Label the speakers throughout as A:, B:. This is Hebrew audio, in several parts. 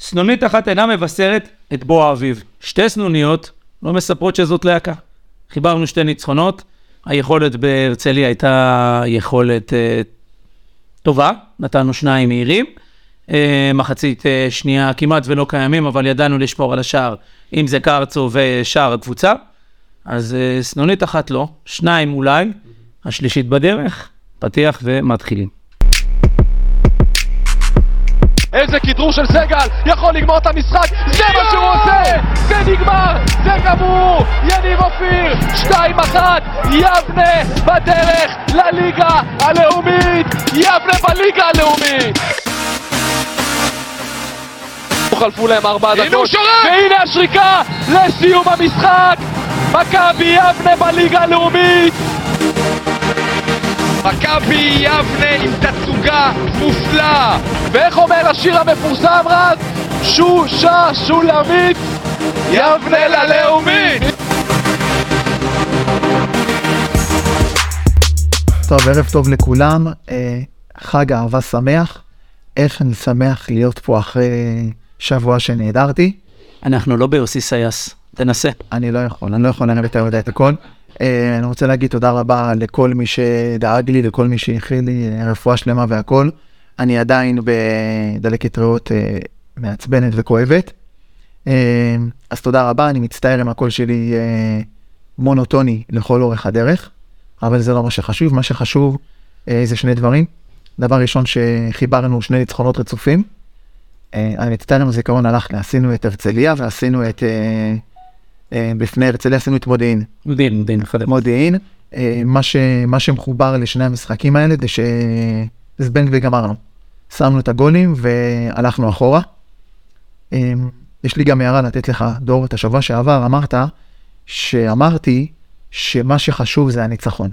A: סנונית אחת אינה מבשרת את בוא האביב. שתי סנוניות לא מספרות שזאת להקה. חיברנו שתי ניצחונות, היכולת בהרצליה הייתה יכולת אה, טובה, נתנו שניים מהירים. אה, מחצית אה, שנייה כמעט ולא קיימים, אבל ידענו לשמור על השער, אם זה קרצו ושער הקבוצה. אז אה, סנונית אחת לא, שניים אולי, השלישית בדרך, פתיח ומתחילים.
B: איזה כדרור של סגל, יכול לגמור את המשחק, זה מה שהוא עושה! זה נגמר, זה גמור! יניב אופיר, 2-1, יבנה בדרך לליגה הלאומית! יבנה בליגה הלאומית! חלפו להם ארבע
C: הנה הוא
B: דקות,
C: שורק!
B: והנה השריקה לסיום המשחק! מכבי יבנה בליגה הלאומית!
C: מכבי יבנה עם תצוגה מופלאה.
B: ואיך אומר השיר המפורסם רז? שושה שולמית יבנה ללאומית!
D: טוב, ערב טוב לכולם, אה, חג אהבה שמח. איך אני שמח להיות פה אחרי שבוע שנעדרתי.
A: אנחנו לא ביוסי סייס, תנסה.
D: אני לא יכול, אני לא יכול לנהל יותר יודע את הכל. אה, אני רוצה להגיד תודה רבה לכל מי שדאג לי, לכל מי שהכין לי אה, רפואה שלמה והכל. אני עדיין בדלקת ריאות אה, מעצבנת וכואבת. אה, אז תודה רבה, אני מצטער אם הקול שלי אה, מונוטוני לכל אורך הדרך, אבל זה לא מה שחשוב, מה שחשוב אה, זה שני דברים. דבר ראשון שחיברנו שני ניצחונות רצופים. אה, אני מצטער אם הזיכרון הלך, לי. עשינו את הרצליה ועשינו את... אה, אה, בפני הרצליה עשינו את מודיעין.
A: דין, דין, חדש.
D: מודיעין, אה, מה, ש, מה שמחובר לשני המשחקים האלה זה שזבנג וגמרנו. שמנו את הגולים והלכנו אחורה. אה, יש לי גם הערה לתת לך, דור, את השבוע שעבר אמרת, שאמרתי שמה שחשוב זה הניצחון.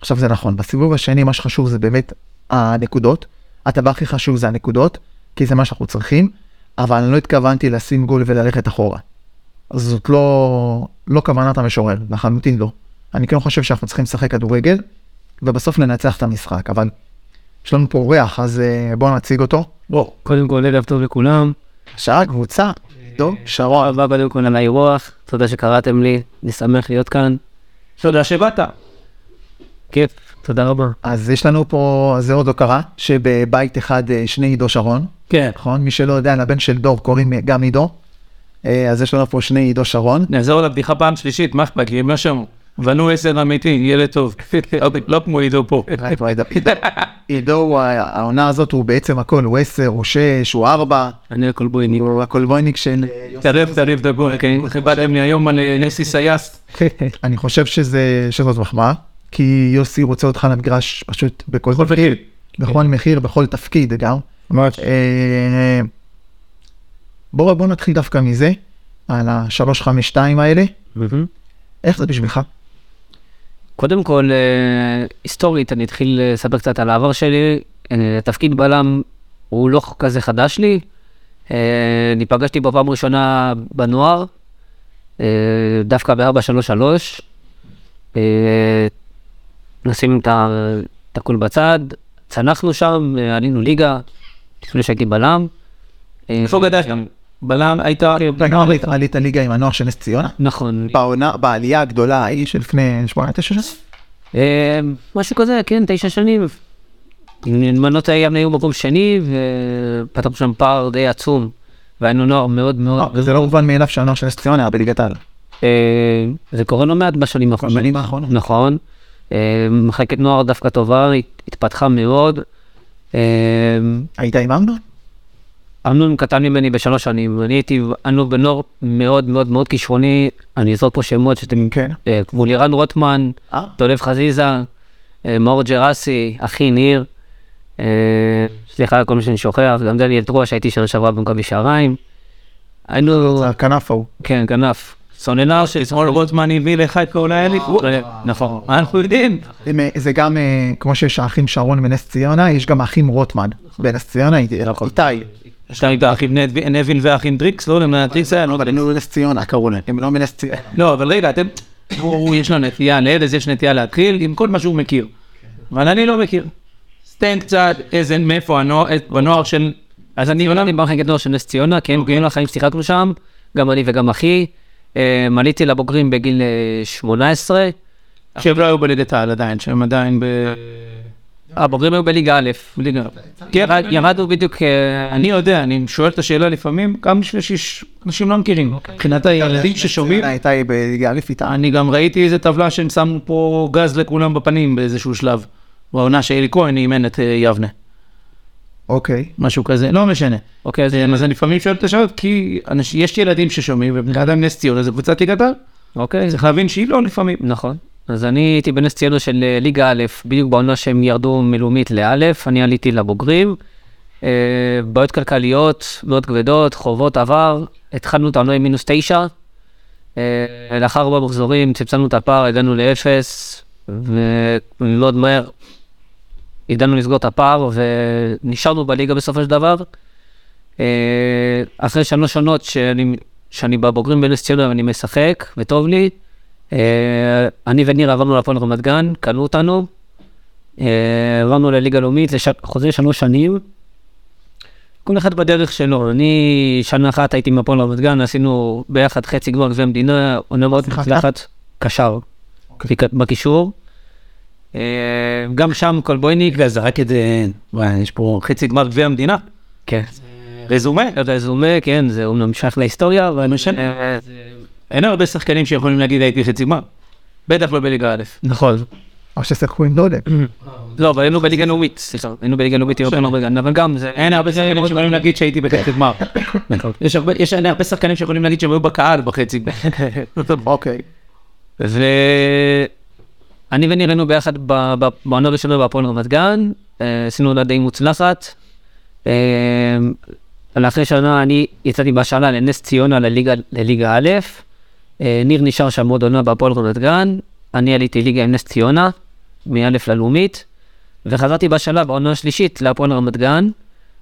D: עכשיו זה נכון, בסיבוב השני מה שחשוב זה באמת הנקודות. הדבר הכי חשוב זה הנקודות, כי זה מה שאנחנו צריכים, אבל אני לא התכוונתי לשים גול וללכת אחורה. אז זאת לא, לא כוונת המשורר, לחלוטין לא. אני כן חושב שאנחנו צריכים לשחק כדורגל, ובסוף ננצח את המשחק, אבל יש לנו פה אורח, אז אה, בואו נציג אותו.
E: בוא, קודם כל ערב טוב לכולם,
D: שאר הקבוצה, דוב,
E: תודה
D: שרון.
E: רבה קודם כל על האירוח, תודה שקראתם לי, אני שמח להיות כאן,
A: תודה שבאת.
E: כיף, תודה רבה.
D: אז יש לנו פה, אז זה עוד לא קרה, שבבית אחד אה, שני עידו שרון,
A: כן.
D: נכון? מי שלא יודע, לבן של דור קוראים אה, גם עידו. אה, אז יש לנו פה שני עידו שרון.
A: נעזור לבדיחה פעם שלישית, מה אכפת לי, הם לא שמעו. בנו עשר אמיתי, ילד טוב. לא כמו עידו פה.
D: רק לא ידע- עידו, הוא ה- העונה הזאת הוא בעצם הכל, הוא 10, הוא 6, הוא 4,
E: אני הכל בואי ניור.
D: הוא הקולבויניק של אה,
A: תערב, תערב דגול, כן? חיברתם לי היום על אה, נסי סייס.
D: אני חושב שזה, שזאת מחמאה, כי יוסי רוצה אותך על המגרש פשוט בכל מחיר, כן. בכל מחיר, בכל תפקיד גם.
F: ממש.
D: אה, בוא בוא נתחיל דווקא מזה, על ה-352 האלה. איך זה בשבילך?
E: קודם כל, אה, היסטורית, אני אתחיל אה, לספר קצת על העבר שלי, אה, תפקיד בלם הוא לא כזה חדש לי, אה, אני פגשתי בו פעם ראשונה בנוער, אה, דווקא ב-433, אה, נשים את ה- את הכול בצד, צנחנו שם, אה, עלינו ליגה, לפני שהייתי בלם. אה,
A: איפה גדלת? בלם הייתה...
D: עלית- עלית ליגה עם הנוער של נס ציונה?
E: נכון.
D: בעונה, בעלייה הגדולה ההיא של לפני 8-9 שנים?
E: אה, משהו כזה, כן, תשע שנים. מנות הים היו מקום שני, ופתחנו שם פער די עצום, והיינו נוער מאוד מאוד...
D: וזה לא מובן מאליו שהנוער של נס ציונה היה בליגת העל.
E: אה, זה קורה לא מעט בשנים האחרונות.
D: בשנים האחרונות.
E: נכון. אה, מחלקת נוער דווקא טובה, הת- התפתחה מאוד. אה,
D: היית עם אמנון?
E: אמנון קטן ממני בשלוש שנים, אני הייתי, אנו בנוער מאוד מאוד מאוד כישרוני, אני אזרוק פה שמות שאתם...
D: כן.
E: אה, כמו לירן רוטמן,
D: אה.
E: דולב חזיזה, אה, מאור ג'רסי, אחי ניר, אה, סליחה על כל מה שאני שוכח, גם דניאל טרוע שהייתי שנה שעברה במכבי שעריים. היינו,
D: הכנף ההוא.
E: כן, כנף.
A: סוננר של שמאל רוטמן הביא לך את כל האלה.
E: נכון.
A: אנחנו יודעים.
D: הם, אה, זה גם, אה, כמו שיש האחים שרון מנס ציונה, יש גם האחים רוטמן. בנס ציונה, איתי. איתי.
A: יש להם את האחים נד- נבין והאחים דריקס, לא? למה דריקס היה?
D: אבל הם לא מנס ציונה, קראו להם. הם לא מנס ציונה.
A: לא, אבל רגע, אתם... הוא, יש לו נטייה, לארז יש נטייה להתחיל עם כל מה שהוא מכיר. אבל אני לא מכיר. אז תן קצת איזה, מאיפה הנוער, את- בנוער של
E: אז אני עולה במחלקת נוער של נס ציונה, כי הם גאים לחיים שיחקנו שם, גם אני וגם אחי. אה, עליתי לבוגרים בגיל אה, 18.
A: שהם לא היו בליגת העל עדיין, שהם עדיין ב...
E: הבוגרים היו בליגה א',
A: בליגה.
E: ירד- ירדנו בדיוק, אה,
A: אני יודע, אני שואל את השאלה לפעמים, גם בשביל שאנשים לא מכירים. מבחינת הילדים ששומעים,
D: הייתה היא בליגה א' איתה.
A: אני גם ראיתי איזה טבלה שהם שמו פה גז לכולם בפנים באיזשהו שלב. בעונה שאלי כהן אימן את אה, יבנה,
D: אוקיי.
A: משהו כזה, לא משנה.
E: אוקיי, אז
A: אז אז אני לפעמים שואל את השאלות, כי אנש- יש ילדים ששומעים, ובני אדם נס ציונה זה קבוצת ליגת העל.
E: אוקיי,
A: צריך להבין שהיא לא לפעמים.
E: נכון. אז אני הייתי בנס ציונה של אה, ליגה א', בדיוק בעונה שהם ירדו מלאומית לאלף, אני עליתי לבוגרים. אה, בעיות כלכליות מאוד כבדות, חובות עבר, התחלנו את העונה עם מינוס תשע. אה, לאחר ארבע מחזורים צמצמנו את הפער, הגענו לאפס, ומאוד מהר ידענו לסגור את הפער ונשארנו בליגה בסופו של דבר. אה, אחרי שלוש שנות שאני, שאני בבוגרים בנס ציונה ואני משחק וטוב לי, אה, אני וניר עברנו להפועל רמת גן, קנו אותנו, אה, עברנו לליגה לאומית, לש... חוזה שלוש שנים. כל אחד בדרך שלו, אני שנה אחת הייתי עם הפועל רמת גן, עשינו ביחד חצי גמר גביע המדינה, עונה מאוד
D: שיחקת?
E: מצלחת, קשר, בק- בקישור. אה, גם שם קולבויניק,
A: רגע, זה רק את זה, וואי, יש פה חצי גמר גביע המדינה.
E: כן,
A: רזומה. לא
E: רזומה, כן, זה אומנם שייך להיסטוריה, אבל
A: משנה.
E: אה,
A: אין הרבה שחקנים שיכולים להגיד הייתי חצי גמר. בטח לא בליגה א'.
E: נכון.
D: או ששיחקו עם דודק.
E: לא, אבל היינו בליגה לאומית, סליחה, היינו בליגה לאומית עם הפועל רמת גן, אבל גם זה...
A: לא אין הרבה שחקנים שיכולים להגיד שהייתי בחצי גמר. יש הרבה- יש אין הרבה שחקנים שיכולים להגיד שהם היו בקהל בחצי גמר.
D: אוקיי.
E: ואני וניר היינו ביחד ב- ב- בעונה הראשונה בהפועל רמת גן, אה, עשינו עונה די מוצלחת. אה, אבל אחרי שנה אני יצאתי בהשאלה לנס ציונה לליגה, לליגה א', אה, ניר נשאר שם עוד עונה בהפועל רמת גן, אני עליתי ליגה עם נס ציונה, מא' ללאומית, וחזרתי בהשאלה בעונה השלישית להפועל רמת גן,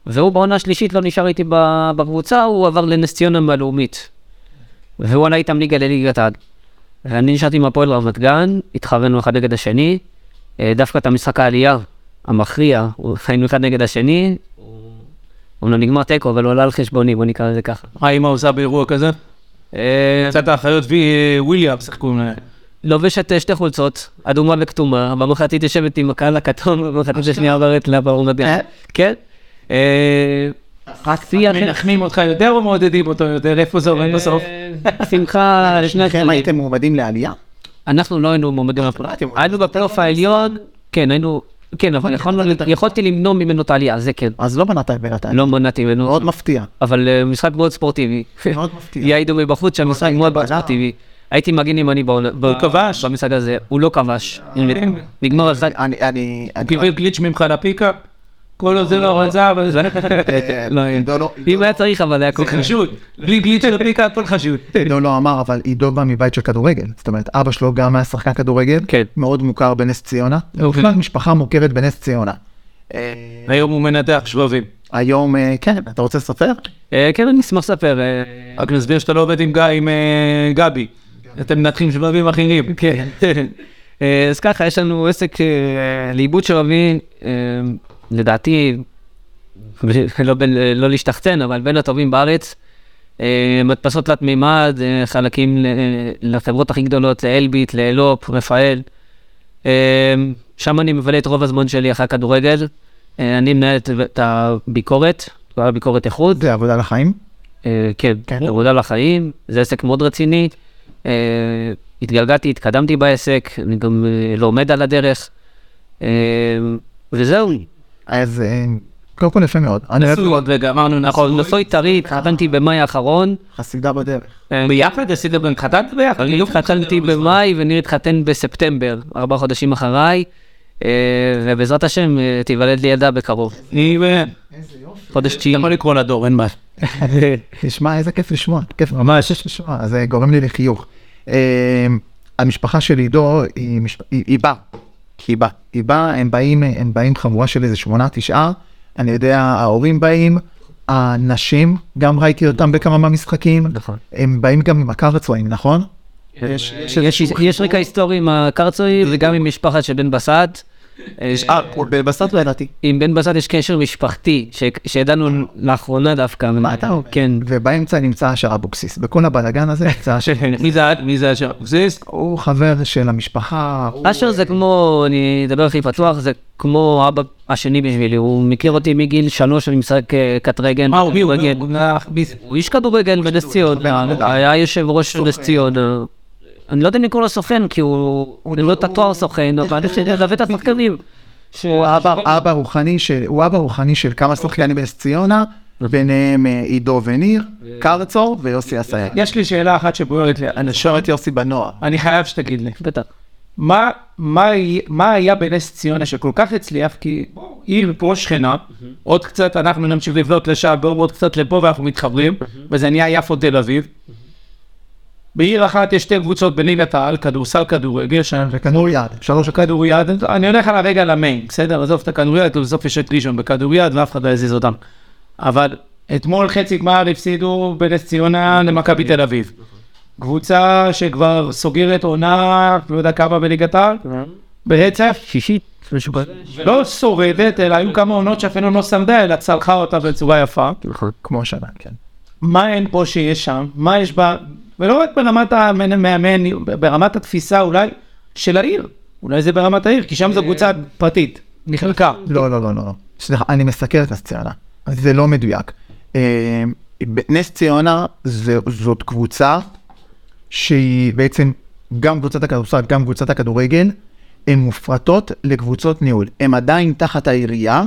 E: והוא בעונה השלישית לא נשאר איתי ב- בקבוצה, הוא עבר לנס ציונה מהלאומית. והוא עלה איתם ליגה לליגת העל. ואני נשארתי עם הפועל רמת גן, התחרנו אחד נגד השני, אה, דווקא את המשחק העלייה המכריע, הוא- היינו אחד נגד השני, אומנם נגמר תיקו, אבל הוא עלה על חשבוני, בוא נקרא לזה ככה.
A: מה אימא עושה באירוע כזה?
E: אה,
A: קצת האחיות וי- אה, וויליאמס, איך קוראים להם?
E: לובשת אה, שתי חולצות, אדומה וכתומה, במחצית יושבת עם הקהל הכתום, ובמחצית השנייה עוברת לפועל רמת גן. כן? אה, שיא אחר-
A: מנחמים אותך יותר או מעודדים אותו יותר? איפה זה עובד בסוף?
E: אה, שמחה לשני
F: שניכם
E: הצדדים.
F: הייתם מועמדים לעלייה?
E: אנחנו לא היינו מועמדים לפלייאוף.
F: הייתם מועמדים.
E: היינו בפלייאוף העליון, כן, היינו, כן, אבל יכולנו- יכולתי למנוע ממנו את העלייה, זה כן.
F: אז לא מנעת בינתיים.
E: לא מנעתי ממנו,
F: מאוד מפתיע.
E: אבל אה, משחק מאוד ספורטיבי.
F: מאוד מפתיע.
E: יעידו מבחוץ שהמשחק מאוד
F: בלם.
E: ספורטיבי. הייתי מגן ימני בעונה- ב-
A: כבש.
E: במשחק הזה, הוא לא כבש. נגמר הזמן.
F: אני, אני, אני,
A: קיבל גליץ' ממך לפיקה? כל עוד זה לא רצה, אבל זה...
E: לא, אין.
F: עידו לא-
E: אם היה צריך, אבל היה כל
A: הכל
E: כך...
A: חשוד. בלי גליץ' לפיקה הכל חשוד.
D: עידו לא אמר, אבל עידו בא מבית של כדורגל. זאת אומרת, אבא שלו גם היה שחקן כדורגל.
E: כן.
D: מאוד מוכר בנס ציונה.
A: אוקיי.
D: ובכלל משפחה מוכרת בנס ציונה. אה,
A: היום הוא מנתח שבבים.
F: היום, אה, כן, אתה רוצה לספר?
E: אה, כן, אני אשמח לספר. אה,
A: רק נסביר שאתה לא עובד עם גיא, עם אה, גבי. אתם מנתחים שבבים אחרים.
E: כן. אה, אז ככה, יש לנו עסק אה, לעיבוד שבבי, אה, לדעתי, לא בין- לא להשתחצן, אבל בין הטובים בארץ. אה, מדפסות תלת מימד, אה, חלקים ל- אה, לחברות הכי גדולות, לאלביט, לאלופ, רפאל. אה, שם אני מבלה את רוב הזמן שלי אחרי הכדורגל. אה, אני מנהל את- את הביקורת, כל הביקורת איכות.
D: זה עבודה לחיים.
E: אה, כן,
D: כן.
E: עבודה לחיים, זה עסק מאוד רציני. אה, התגלגלתי, התקדמתי בעסק, אני גם אה, לומד על הדרך. אה, וזהו,
D: אז אה, קודם כל יפה מאוד. אני אוהב-
A: נשוי עוד רגע, אמרנו
E: נכון,
A: נכון.
E: נשוי טרי, התחתנתי במאי האחרון.
F: חסידה בדרך.
A: נכון. ביחד עשיתם גם חתנת ביחד? לא
E: אני לא התחתנתי במאי וניר התחתן בספטמבר, ארבעה חודשים אחריי. אה, ובעזרת השם אה, תיוולד לי ילדה בקרוב,
A: אני... אה,
E: חודש
A: אתה
E: תשיעי.
A: יכול לקרוא לדור, אין בעיה.
D: תשמע, איזה כיף לשמוע. כיף ממש. כיף לשמוע, זה גורם לי לחיוך. אה, המשפחה של עידו היא משפ- היא היא באה.
F: כי בא.
D: היא באה, הם באים, אה, הם באים חבורה של איזה שמונה, תשעה, אני יודע, ההורים באים, הנשים, גם ראיתי אותם בכמה מהמשחקים,
E: נכון. כן.
D: הם באים גם עם הקר הצבעים, נכון?
E: יש- יש רקע היסטורי עם הקרצוי וגם עם משפחת של בן בסט. אה,
F: אה, בבשר לא ידעתי.
E: עם בן בסט יש קשר משפחתי, ש- שידענו לאחרונה דווקא.
D: מה אתה אומר?
E: כן.
D: ובאמצע נמצא אשר אבוקסיס. בכל הבלאגן הזה נמצא אשר...
A: מי זה את? מי זה אשר אבוקסיס?
D: הוא חבר של המשפחה, הוא-
E: אשר זה כמו, אני אדבר הכי פתוח, זה כמו אבא השני בשבילי, הוא מכיר אותי מגיל שלוש, אני משחק אה, קט רגל.
A: מה הוא? מי הוא?
E: כדורגל.
A: הוא נח- מי זה?
E: הוא איש כדורגל בנס ציונה, היה יושב ראש של נס ציונה. אה, אני לא יודע אם לקרוא לו סוכן, כי הוא, הוא לא את התואר סוכן, אבל הוא מלווה את השחקנים.
D: הוא אבא, אבא רוחני של, הוא אבא רוחני של כמה שחקנים
F: אוקיי.
D: בנס ציונה, ביניהם אה, עידו וניר, קרצור ויוסי אסייג.
A: יש לי שאלה אחת שבוערת לי. אני-
F: נשאר את יוסי בנוער.
A: אני חייב שתגיד לי.
E: בטח.
A: מה, מה, היה- מה היה בנס ציונה שכל כך הצליח? כי בוא, עיר פה שכנה, עוד קצת אנחנו נמשיך לבנות לשם, בואו עוד קצת לפה ואנחנו מתחברים, וזה נהיה יפו תל אביב. בעיר אחת יש שתי קבוצות בליגת העל, כדורסל כדורגל, שאנחנו
D: וכדור יד, שלוש הכ-
A: כדוריד, אני הולך על הרגע למיין, בסדר? עזוב את הכדוריד, בסוף יש את ראשון בכדוריד ואף אחד לא יזיז אותם. אבל אתמול חצי גמר הפסידו בנס ציונה למכבי תל אביב. קבוצה שכבר סוגרת עונה, לא יודע כמה בליגת העל, ברצף,
E: שישית, משהו כזה.
A: לא שורדת, אלא היו כמה עונות שאפילו לא שרדה, אלא צלחה אותה בצורה יפה.
E: נכון.
D: כמו השנה, כן.
A: מה אין פה שיש שם, מה יש בה, ולא רק ברמת המאמן, ברמת התפיסה אולי של העיר, אולי זה ברמת העיר, כי שם
E: אה,
A: זו קבוצה פרטית, נחלקה.
D: לא, לא, לא, לא, לא. סליחה, אני מסקר את נס ציונה. זה לא מדויק. אה,
F: ב- נס ציונה
D: זה- זאת קבוצה שהיא בעצם גם קבוצת הכדורסל, גם קבוצת הכדורגל, הן מופרטות לקבוצות ניהול. הן עדיין תחת העירייה,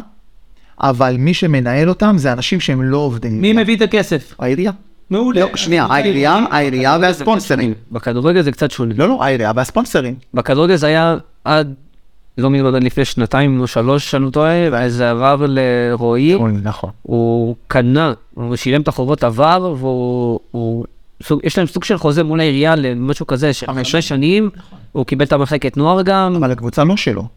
D: אבל מי שמנהל אותם זה אנשים שהם לא עובדים.
A: מי מביא את הכסף?
D: העירייה.
A: מעולה.
F: לא, שנייה, העירייה, העירייה והספונסרים.
E: בכדורגל זה קצת שונה.
D: לא, לא, העירייה והספונסרים.
E: בכדורגל זה היה עד, לא מזמן, עד לפני שנתיים או שלוש, אני לא טועה, ואז זה עבר לרועי,
D: נכון.
E: הוא קנה, הוא שילם את החובות עבר, והוא, הוא- סוג- יש להם סוג של חוזה מול העירייה למשהו כזה, של
A: נכון.
E: חמש שנים, הוא קיבל את המחלקת נוער גם,
D: אבל הקבוצה לא שלו.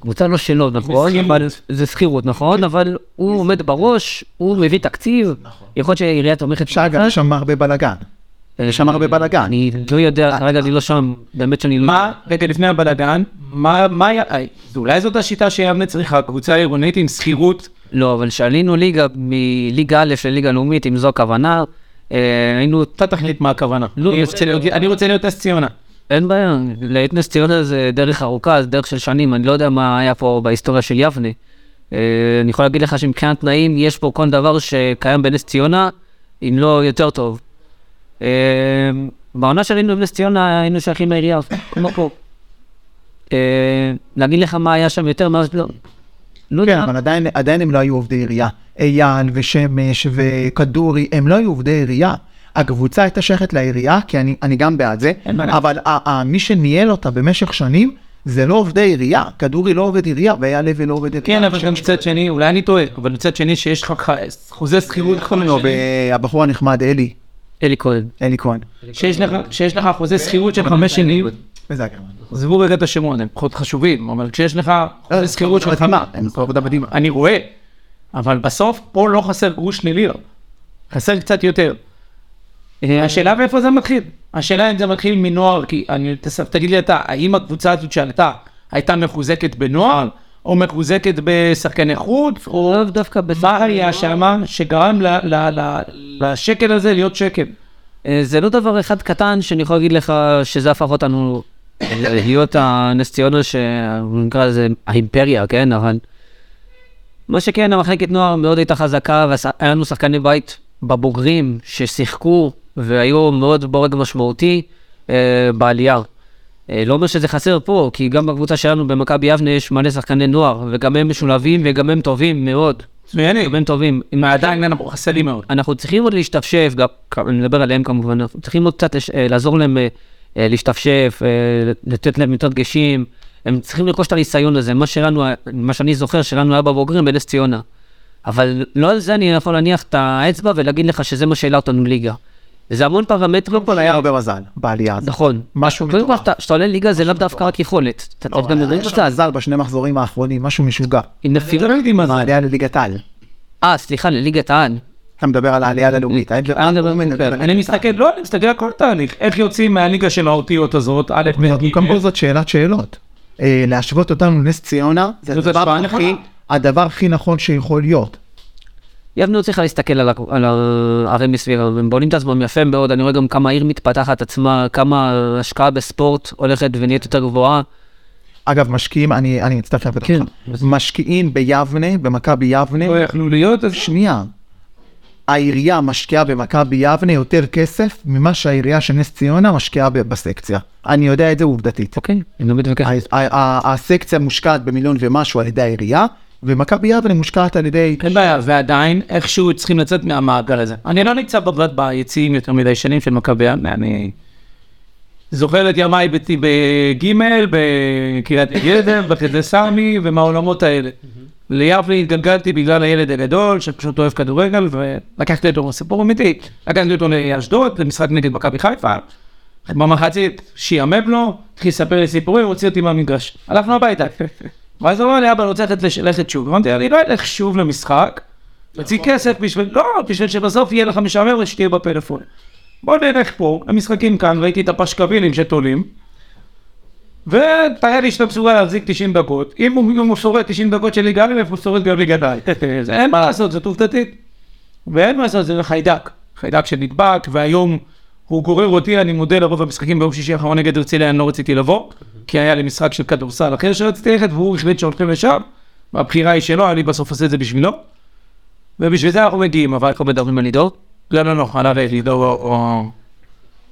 E: קבוצה לא שלו, נכון?
A: שכירות. כן.
E: אבל זה שכירות, נכון? אבל הוא עומד בראש, הוא מביא תקציב,
A: נכון.
E: יכול להיות שהעירייה תומכת.
D: שאגב, יש שם הרבה בלאגן.
E: יש
F: שם הרבה בלאגן.
E: אני לא יודע, כרגע אני לא שם, באמת שאני לא...
A: מה, רגע לפני הבלאגן, מה, מה, היה- אה, אולי זאת השיטה שיבנה צריכה, קבוצה עירונית עם שכירות,
E: לא, אבל שעלינו ליגה, מליגה א' לליגה לאומית, אם זו הכוונה, אה, היינו,
A: אתה תחליט מה הכוונה.
E: לא,
A: אני רוצה להיות- אני רוצה להיות נס ציונה.
E: אין בעיה, לעת נס ציונה זה דרך ארוכה, זה דרך של שנים, אני לא יודע מה היה פה בהיסטוריה של יבנה. אה, אני יכול להגיד לך שמבחינת תנאים, יש פה כל דבר שקיים בנס ציונה, אם לא יותר טוב. אה, בעונה שהיינו בנס ציונה, היינו שייכים לעירייה, כמו פה. אה, להגיד לך מה היה שם יותר, מה לא. לא
D: כן,
E: יודע.
D: אבל עדיין, עדיין הם לא היו עובדי עירייה. אייל ושמש וכדורי, הם לא היו עובדי עירייה. הקבוצה הייתה שייכת לעירייה, כי אני, אני גם בעד זה,
A: בעיה.
D: אבל ה- ה- מי שניהל אותה במשך שנים, זה לא עובדי עירייה. כדורי לא עובד עירייה, ואייל לוי לא עובד עירייה.
A: כן, אבל גם מצד שני, אולי אני טועה, אבל מצד שני שיש לך חוזה שכירות,
E: אה,
D: לא, ב- הבחור הנחמד, אלי,
E: אלי כהן.
D: אלי כהן.
E: אה,
A: שיש לך- שיש לך חוזה שכירות של חמש שנים,
D: וזה הגרמן.
A: עזבו רגע את השמות, הם פחות חשובים, אבל כשיש לך חוזה שכירות של חמה,
D: אה, הם עשו עבודה מדהימה.
A: אני רואה, אבל בסוף פה לא חסר גרוש לליר, חסר קצת יותר. אה, השאלה מאיפה זה מתחיל, השאלה אם זה מתחיל מנוער, כי אני, תס- תגיד לי אתה, האם הקבוצה הזאת שעלתה, הייתה מחוזקת בנוער, או מחוזקת בשחקני חוץ, או
E: לאו דווקא בס...
A: מה היה שמה שגרם ל- ל- ל- לשקל הזה להיות שקל?
E: אה, זה לא דבר אחד קטן שאני יכול להגיד לך שזה הפך אותנו אה, להיות הנס ציונה שנקרא לזה האימפריה, כן? אבל מה שכן, המחלקת נוער מאוד הייתה חזקה, והיה לנו שחקני בית בבוגרים ששיחקו והיו מאוד בורג משמעותי אה, בעלייה. אה, לא אומר שזה חסר פה, כי גם בקבוצה שלנו במכבי יבנה יש מלא שחקני נוער, וגם הם משולבים וגם הם טובים מאוד.
A: מצוינים,
E: גם הם טובים. אם
A: עדיין אנחנו חסר לי מאוד.
E: אנחנו צריכים עוד להשתפשף, גם, כ- אני מדבר עליהם כמובן, אנחנו צריכים עוד קצת לש- אה, לעזור להם אה, אה, להשתפשף, אה, לתת להם יותר דגשים, הם צריכים לרכוש את הניסיון הזה, מה שלנו, היה- מה שאני זוכר שלנו היה בבוגרים בנס ציונה. אבל לא על זה אני יכול להניח את האצבע ולהגיד לך שזה מה שהעלה אותנו ליגה. זה המון פרמטרים.
D: אבל היה הרבה מזל בעלייה הזאת.
E: נכון.
D: משהו
E: קודם כל,
D: מטורף.
E: כשאתה- כשאתה עולה ליגה זה לאו דווקא רק יכולת. אתה צריך גם לדעת
D: לא, אה, יש
E: אותה,
D: שם מזל בשני מחזורים האחרונים, משהו משוגע.
E: עם נפילה.
D: העלייה לליגת העל.
E: אה, סליחה, לליגת העל.
D: אתה מדבר על העלייה ללאומית.
E: אני מדבר-
A: אני מסתכל, לא, אני מסתכל על כל תהליך, איך יוצאים מהליגה של האותיות הזאת, א', ב', ג',
D: גם פה זאת שאלת שאלות. אה, להשוות אותנו לנס ציונה, זה
F: זאת
D: הדבר
F: השוואה
D: הכי,
F: נכונה.
D: הדבר הכי נכון שיכול להיות.
E: יבנו צריכה להסתכל על, הכ- על הערים מסביב, אבל הם בונים את עצמם יפה מאוד, אני רואה גם כמה העיר מתפתחת עצמה, כמה השקעה בספורט הולכת ונהיית יותר גבוהה.
D: אגב, משקיעים, אני, אני מצטער שאני
E: כן.
D: כן. אותך, משקיעים ביבנה, במכבי יבנה,
A: לא יכלו להיות, אז
D: שנייה, העירייה משקיעה במכבי יבנה יותר כסף ממה שהעירייה של נס ציונה משקיעה ב- בסקציה. אני יודע את זה עובדתית.
E: אוקיי, אני לא מתווכח.
D: ה- ה- ה- הסקציה מושקעת במיליון ומשהו על ידי העירייה, ומכבי יבנה מושקעת על ידי...
A: אין בעיה, ועדיין איכשהו צריכים לצאת מהמעגל הזה. אני לא נמצא בבד ביציעים יותר מדי שנים של מכבי יבנה, אני זוכר את ימיי בט- בגימל, בקריית גדר, בחדרי סמי ומהעולמות האלה. ליבנה התגלגלתי בגלל הילד הגדול שפשוט אוהב כדורגל ולקחתי אותו, סיפור אמיתי, לקחתי אותו לאשדוד למשחק נגד מכבי חיפה. במחצית שיאמם לו, התחיל לספר לי סיפורים, הוציא אותי מהמגרש. הלכנו הביתה. ואז הוא אמר לי, אבא, אני רוצה ללכת לש- ללכת שוב. אמרתי, אני לא אלך שוב למשחק, תוציא כסף בשביל, לא, בשביל שבסוף יהיה לך משעמם ושתהיה בפלאפון. בוא נלך פה, המשחקים כאן, ראיתי את הפשקווילים שתולים. ותראה לי שאתה מסוגל להחזיק 90 דקות, אם הוא, אם הוא שורד 90 דקות של ליגה א', הוא שורד גם ליגה ד'. זה- אין מה לעשות, זאת עובדתית. ואין מה לעשות, זה חיידק. חיידק שנדבק, והיום הוא גורר אותי, אני מודה לרוב המשחקים ביום שישי האחרון נגד הרצליה, אני לא רציתי לבוא, כי היה לי משחק של כדורסל אחר שרציתי ללכת, והוא החליט שהולכים לשם, והבחירה היא שלו, אני בסוף עושה את זה בשבילו. ובשביל זה אנחנו מגיעים, אבל אנחנו מדברים על לידור? לא, לא, לא, עליו יש לידור, הוא- הוא-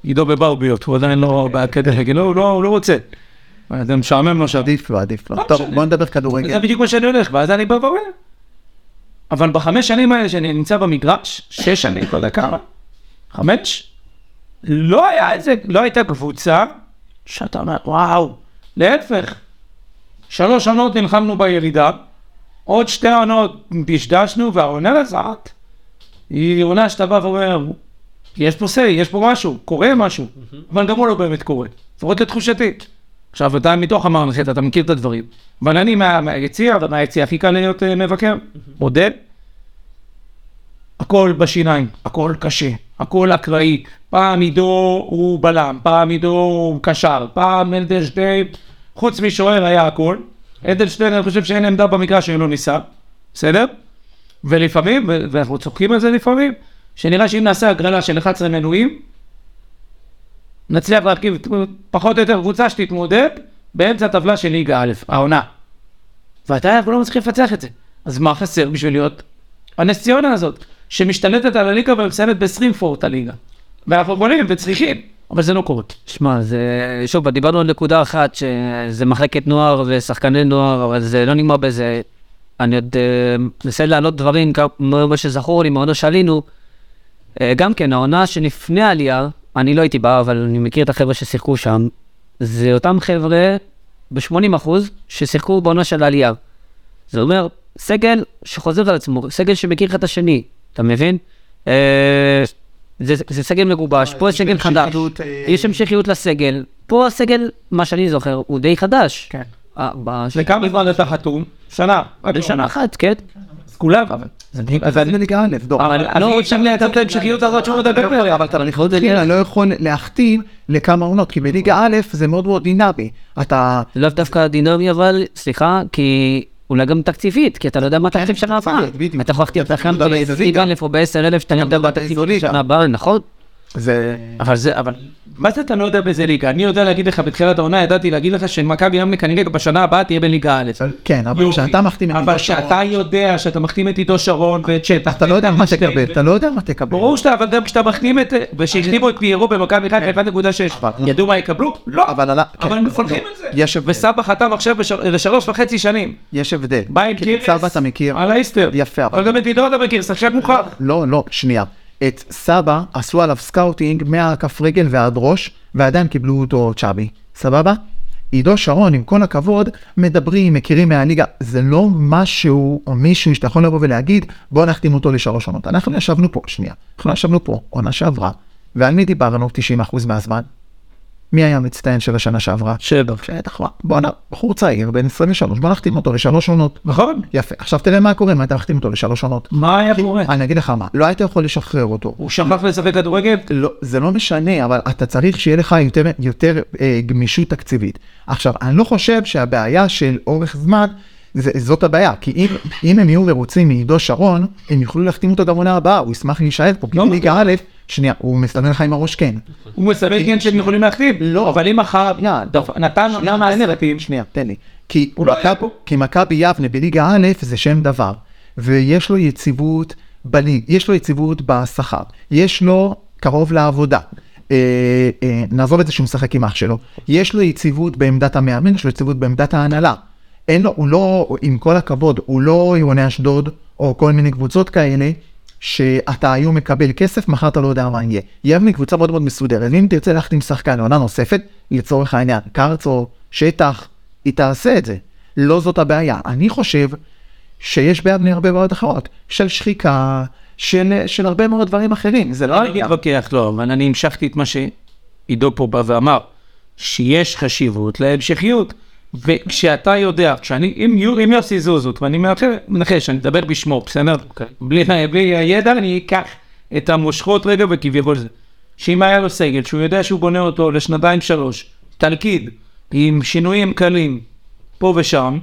A: עידו בברביות, הוא עדיין לא באקדמיה, לא, הוא לא- הוא לא רוצה. זה משעמם לו שם.
D: עדיף לו, עדיף לו.
A: לא
D: טוב,
A: משנה.
D: בוא נדבר
A: זה
D: כדורגל.
A: בדיוק מה שאני הולך, ואז אני בא ואומר. אבל בחמש שנים האלה שאני נמצא במגרש, שש שנים, לא יודע כמה, חמש, לא היה איזה, לא הייתה קבוצה שאתה אומר, וואו, להפך. שלוש עונות נלחמנו בירידה, עוד שתי עונות דשדשנו, והעונה הזאת היא עונה שאתה בא ואומר, יש פה סיי, יש פה משהו, קורה משהו, אבל גם הוא לא באמת קורה, לפחות לתחושתי. עכשיו, אתה מתוך המערכת, אתה מכיר את הדברים. אבל אני מה- מהיציע, ומהיציע הכי קל להיות אה, מבקר, מודד. הכל בשיניים, הכל קשה, הכל אקראי. פעם עידו הוא בלם, פעם עידו הוא קשר, פעם אדלשטיין, חוץ משוער היה הכל. אדלשטיין, אני חושב שאין עמדה במגרש שלא ניסה, בסדר? ולפעמים, ו- ואנחנו צוחקים על זה לפעמים, שנראה שאם נעשה הגרלה של 11 מנויים, נצליח להרכיב פחות או יותר קבוצה שתתמודד באמצע הטבלה של ליגה א', העונה. ועדיין אנחנו לא מצליחים לפצח את זה. אז מה חסר בשביל להיות הנס ציונה הזאת, שמשתלטת על הליגה ומסיימת ב-20 פורט הליגה. ואנחנו בונים וצריכים, אבל זה לא קורה.
E: שמע, זה, שוב, דיברנו על נקודה אחת, שזה מחלקת נוער ושחקני נוער, אבל זה לא נגמר בזה. אני עוד אה, מנסה להעלות דברים, כמו מה שזכור לי, מעונה שעלינו. אה, גם כן, העונה שלפני העלייה, אני לא הייתי בה, אבל אני מכיר את החבר'ה ששיחקו שם, זה אותם חבר'ה, ב-80% ששיחקו בעונה של העלייה. זה אומר, סגל שחוזר על עצמו, סגל שמכיר אחד את השני, אתה מבין? אה, זה, זה סגל מגובש, פה יש סגל חדש,
D: המשכיות, אה,
E: יש המשכיות לסגל, פה הסגל, מה שאני זוכר, הוא די חדש.
A: כן.
E: אה, בש-
A: לכמה זמן אתה חתום? שנה. רק
E: בשנה אחת, כן?
A: אז כולם, אבל...
D: אז אני בליגה א', דור.
A: אבל לא, אי אפשר לייצר את ההמשכיות הזאת שהוא מדבר עליה, אבל אתה
D: אתה יודע, אני לא יכול להכתיב לכמה עונות, כי בליגה א' זה מאוד מאוד דינמי. אתה...
E: זה לאו דווקא דינמי, אבל, סליחה, כי אולי גם תקציבית, כי אתה לא יודע
A: כן,
E: מה תקציב שנה הבאה.
D: בדיוק.
E: אתה יכול להחתים את החיים
A: לא
D: אתה יודע באיזה ליגה.
E: ב-20,000 או ב-10,000, שאתה לא יודע מה תקציב
D: באיזו
E: שנה
D: ליגה.
E: הבאה, נכון?
D: זה...
A: אבל זה, אבל... מה זה אתה לא יודע באיזה ליגה? אני יודע להגיד לך, בתחילת העונה ידעתי להגיד לך שמכבי ימני כנראה בשנה הבאה תהיה בליגה א'.
D: כן, אבל
A: יופי.
D: כשאתה מחתים את
A: אבל שאתה יודע שאתה מחתים את עידו שרון ואת שטח.
D: אתה לא יודע מה תקבל,
A: ואת-
D: אתה לא יודע מה תקבל.
A: ברור שאתה, אבל גם כשאתה מחתים את... ושהחתימו את פיירו במכבי חיפה 1.6, ידעו מה יקבלו? לא.
D: אבל עלה-
A: אבל
D: כן.
A: הם מפרקים על זה.
D: יש הבדל.
A: וסבא חתם עכשיו בש- לשלוש וחצי שנים.
D: יש הבדל.
A: בא עם
D: כי
A: קירס.
D: כן, סבא אתה מכיר.
A: על האיסטר.
D: יפה, אבל-
A: אבל גם את עידו אתה מכיר, שחקן מוכר.
D: לא, לא, שנייה. את סבא עשו עליו סקאוטינג מהכף רגל ועד ראש, ועדיין קיבלו אותו צ'אבי. סבבה? עידו שרון, עם כל הכבוד, מדברים, מכירים מהליגה. זה לא משהו או מישהו שאתה יכול לבוא ולהגיד, בוא נחתים אותו לשלוש עונות. אנחנו ישבנו פה, שנייה, אנחנו ישבנו פה, עונה שעברה, ועל מי דיברנו 90% מהזמן? מי היה המצטיין של השנה שעברה?
A: שבר.
D: שטח, בואנה, בחור צעיר, בן 23, בוא נחתים אותו לשלוש עונות.
A: נכון.
D: יפה, עכשיו תראה מה קורה אם היית מחתים אותו לשלוש עונות.
A: מה היה קורה?
D: אני אגיד לך מה, לא היית יכול לשחרר אותו.
A: הוא שכח לשחק כדורגל?
D: לא, זה לא משנה, אבל אתה צריך שיהיה לך יותר, יותר אה, גמישות תקציבית. עכשיו, אני לא חושב שהבעיה של אורך זמן, זה, זאת הבעיה, כי אם, אם הם יהיו מרוצים מעידו שרון, הם יוכלו להחתים אותו גם עונה הבאה, הוא ישמח להישאר פה, כי
A: לא
D: בליגה א', שנייה, הוא מסתמן לך עם הראש כן.
A: הוא מסמן כן שהם יכולים להכתיב.
D: לא.
A: אבל אם מחר,
D: שנייה,
A: דפ- נתן עונה מהסרטים.
D: שנייה, תן לי. כי
A: הוא לא היה
D: מכבי-
A: פה.
D: כי מכבי יבנה בליגה א' זה שם דבר, ויש לו יציבות בליג, יש לו יציבות בשכר, יש לו קרוב לעבודה. אה, אה, נעזוב את זה שהוא משחק עם אח שלו, יש לו יציבות בעמדת המאמן, יש לו יציבות בעמדת ההנהלה. אין לו, הוא לא, עם כל הכבוד, הוא לא עירוני אשדוד, או כל מיני קבוצות כאלה, שאתה היום מקבל כסף, מחר אתה לא יודע מה יהיה. יבנה קבוצה מאוד מאוד מסודרת, ואם תרצה להחתים שחקן לעונה נוספת, לצורך העניין, קרצו, שטח, היא תעשה את זה. לא זאת הבעיה. אני חושב שיש ביבנה הרבה בעיות אחרות, של שחיקה, של, של הרבה מאוד דברים אחרים, זה לא
A: אני
D: העניין.
A: מתווכח, לא, אבל אני המשכתי את מה שעידו פה בא ואמר, שיש חשיבות להמשכיות. וכשאתה יודע, כשאני, אם, יו- אם יוסי זוזות, ואני מאחר- מנחש, אני מדבר בשמו, בסדר? בלי, בלי הידע, אני אקח את המושכות רגע וכביכול זה. שאם היה לו סגל, שהוא יודע שהוא בונה אותו לשנתיים שלוש, תלכיד, עם שינויים קלים פה ושם,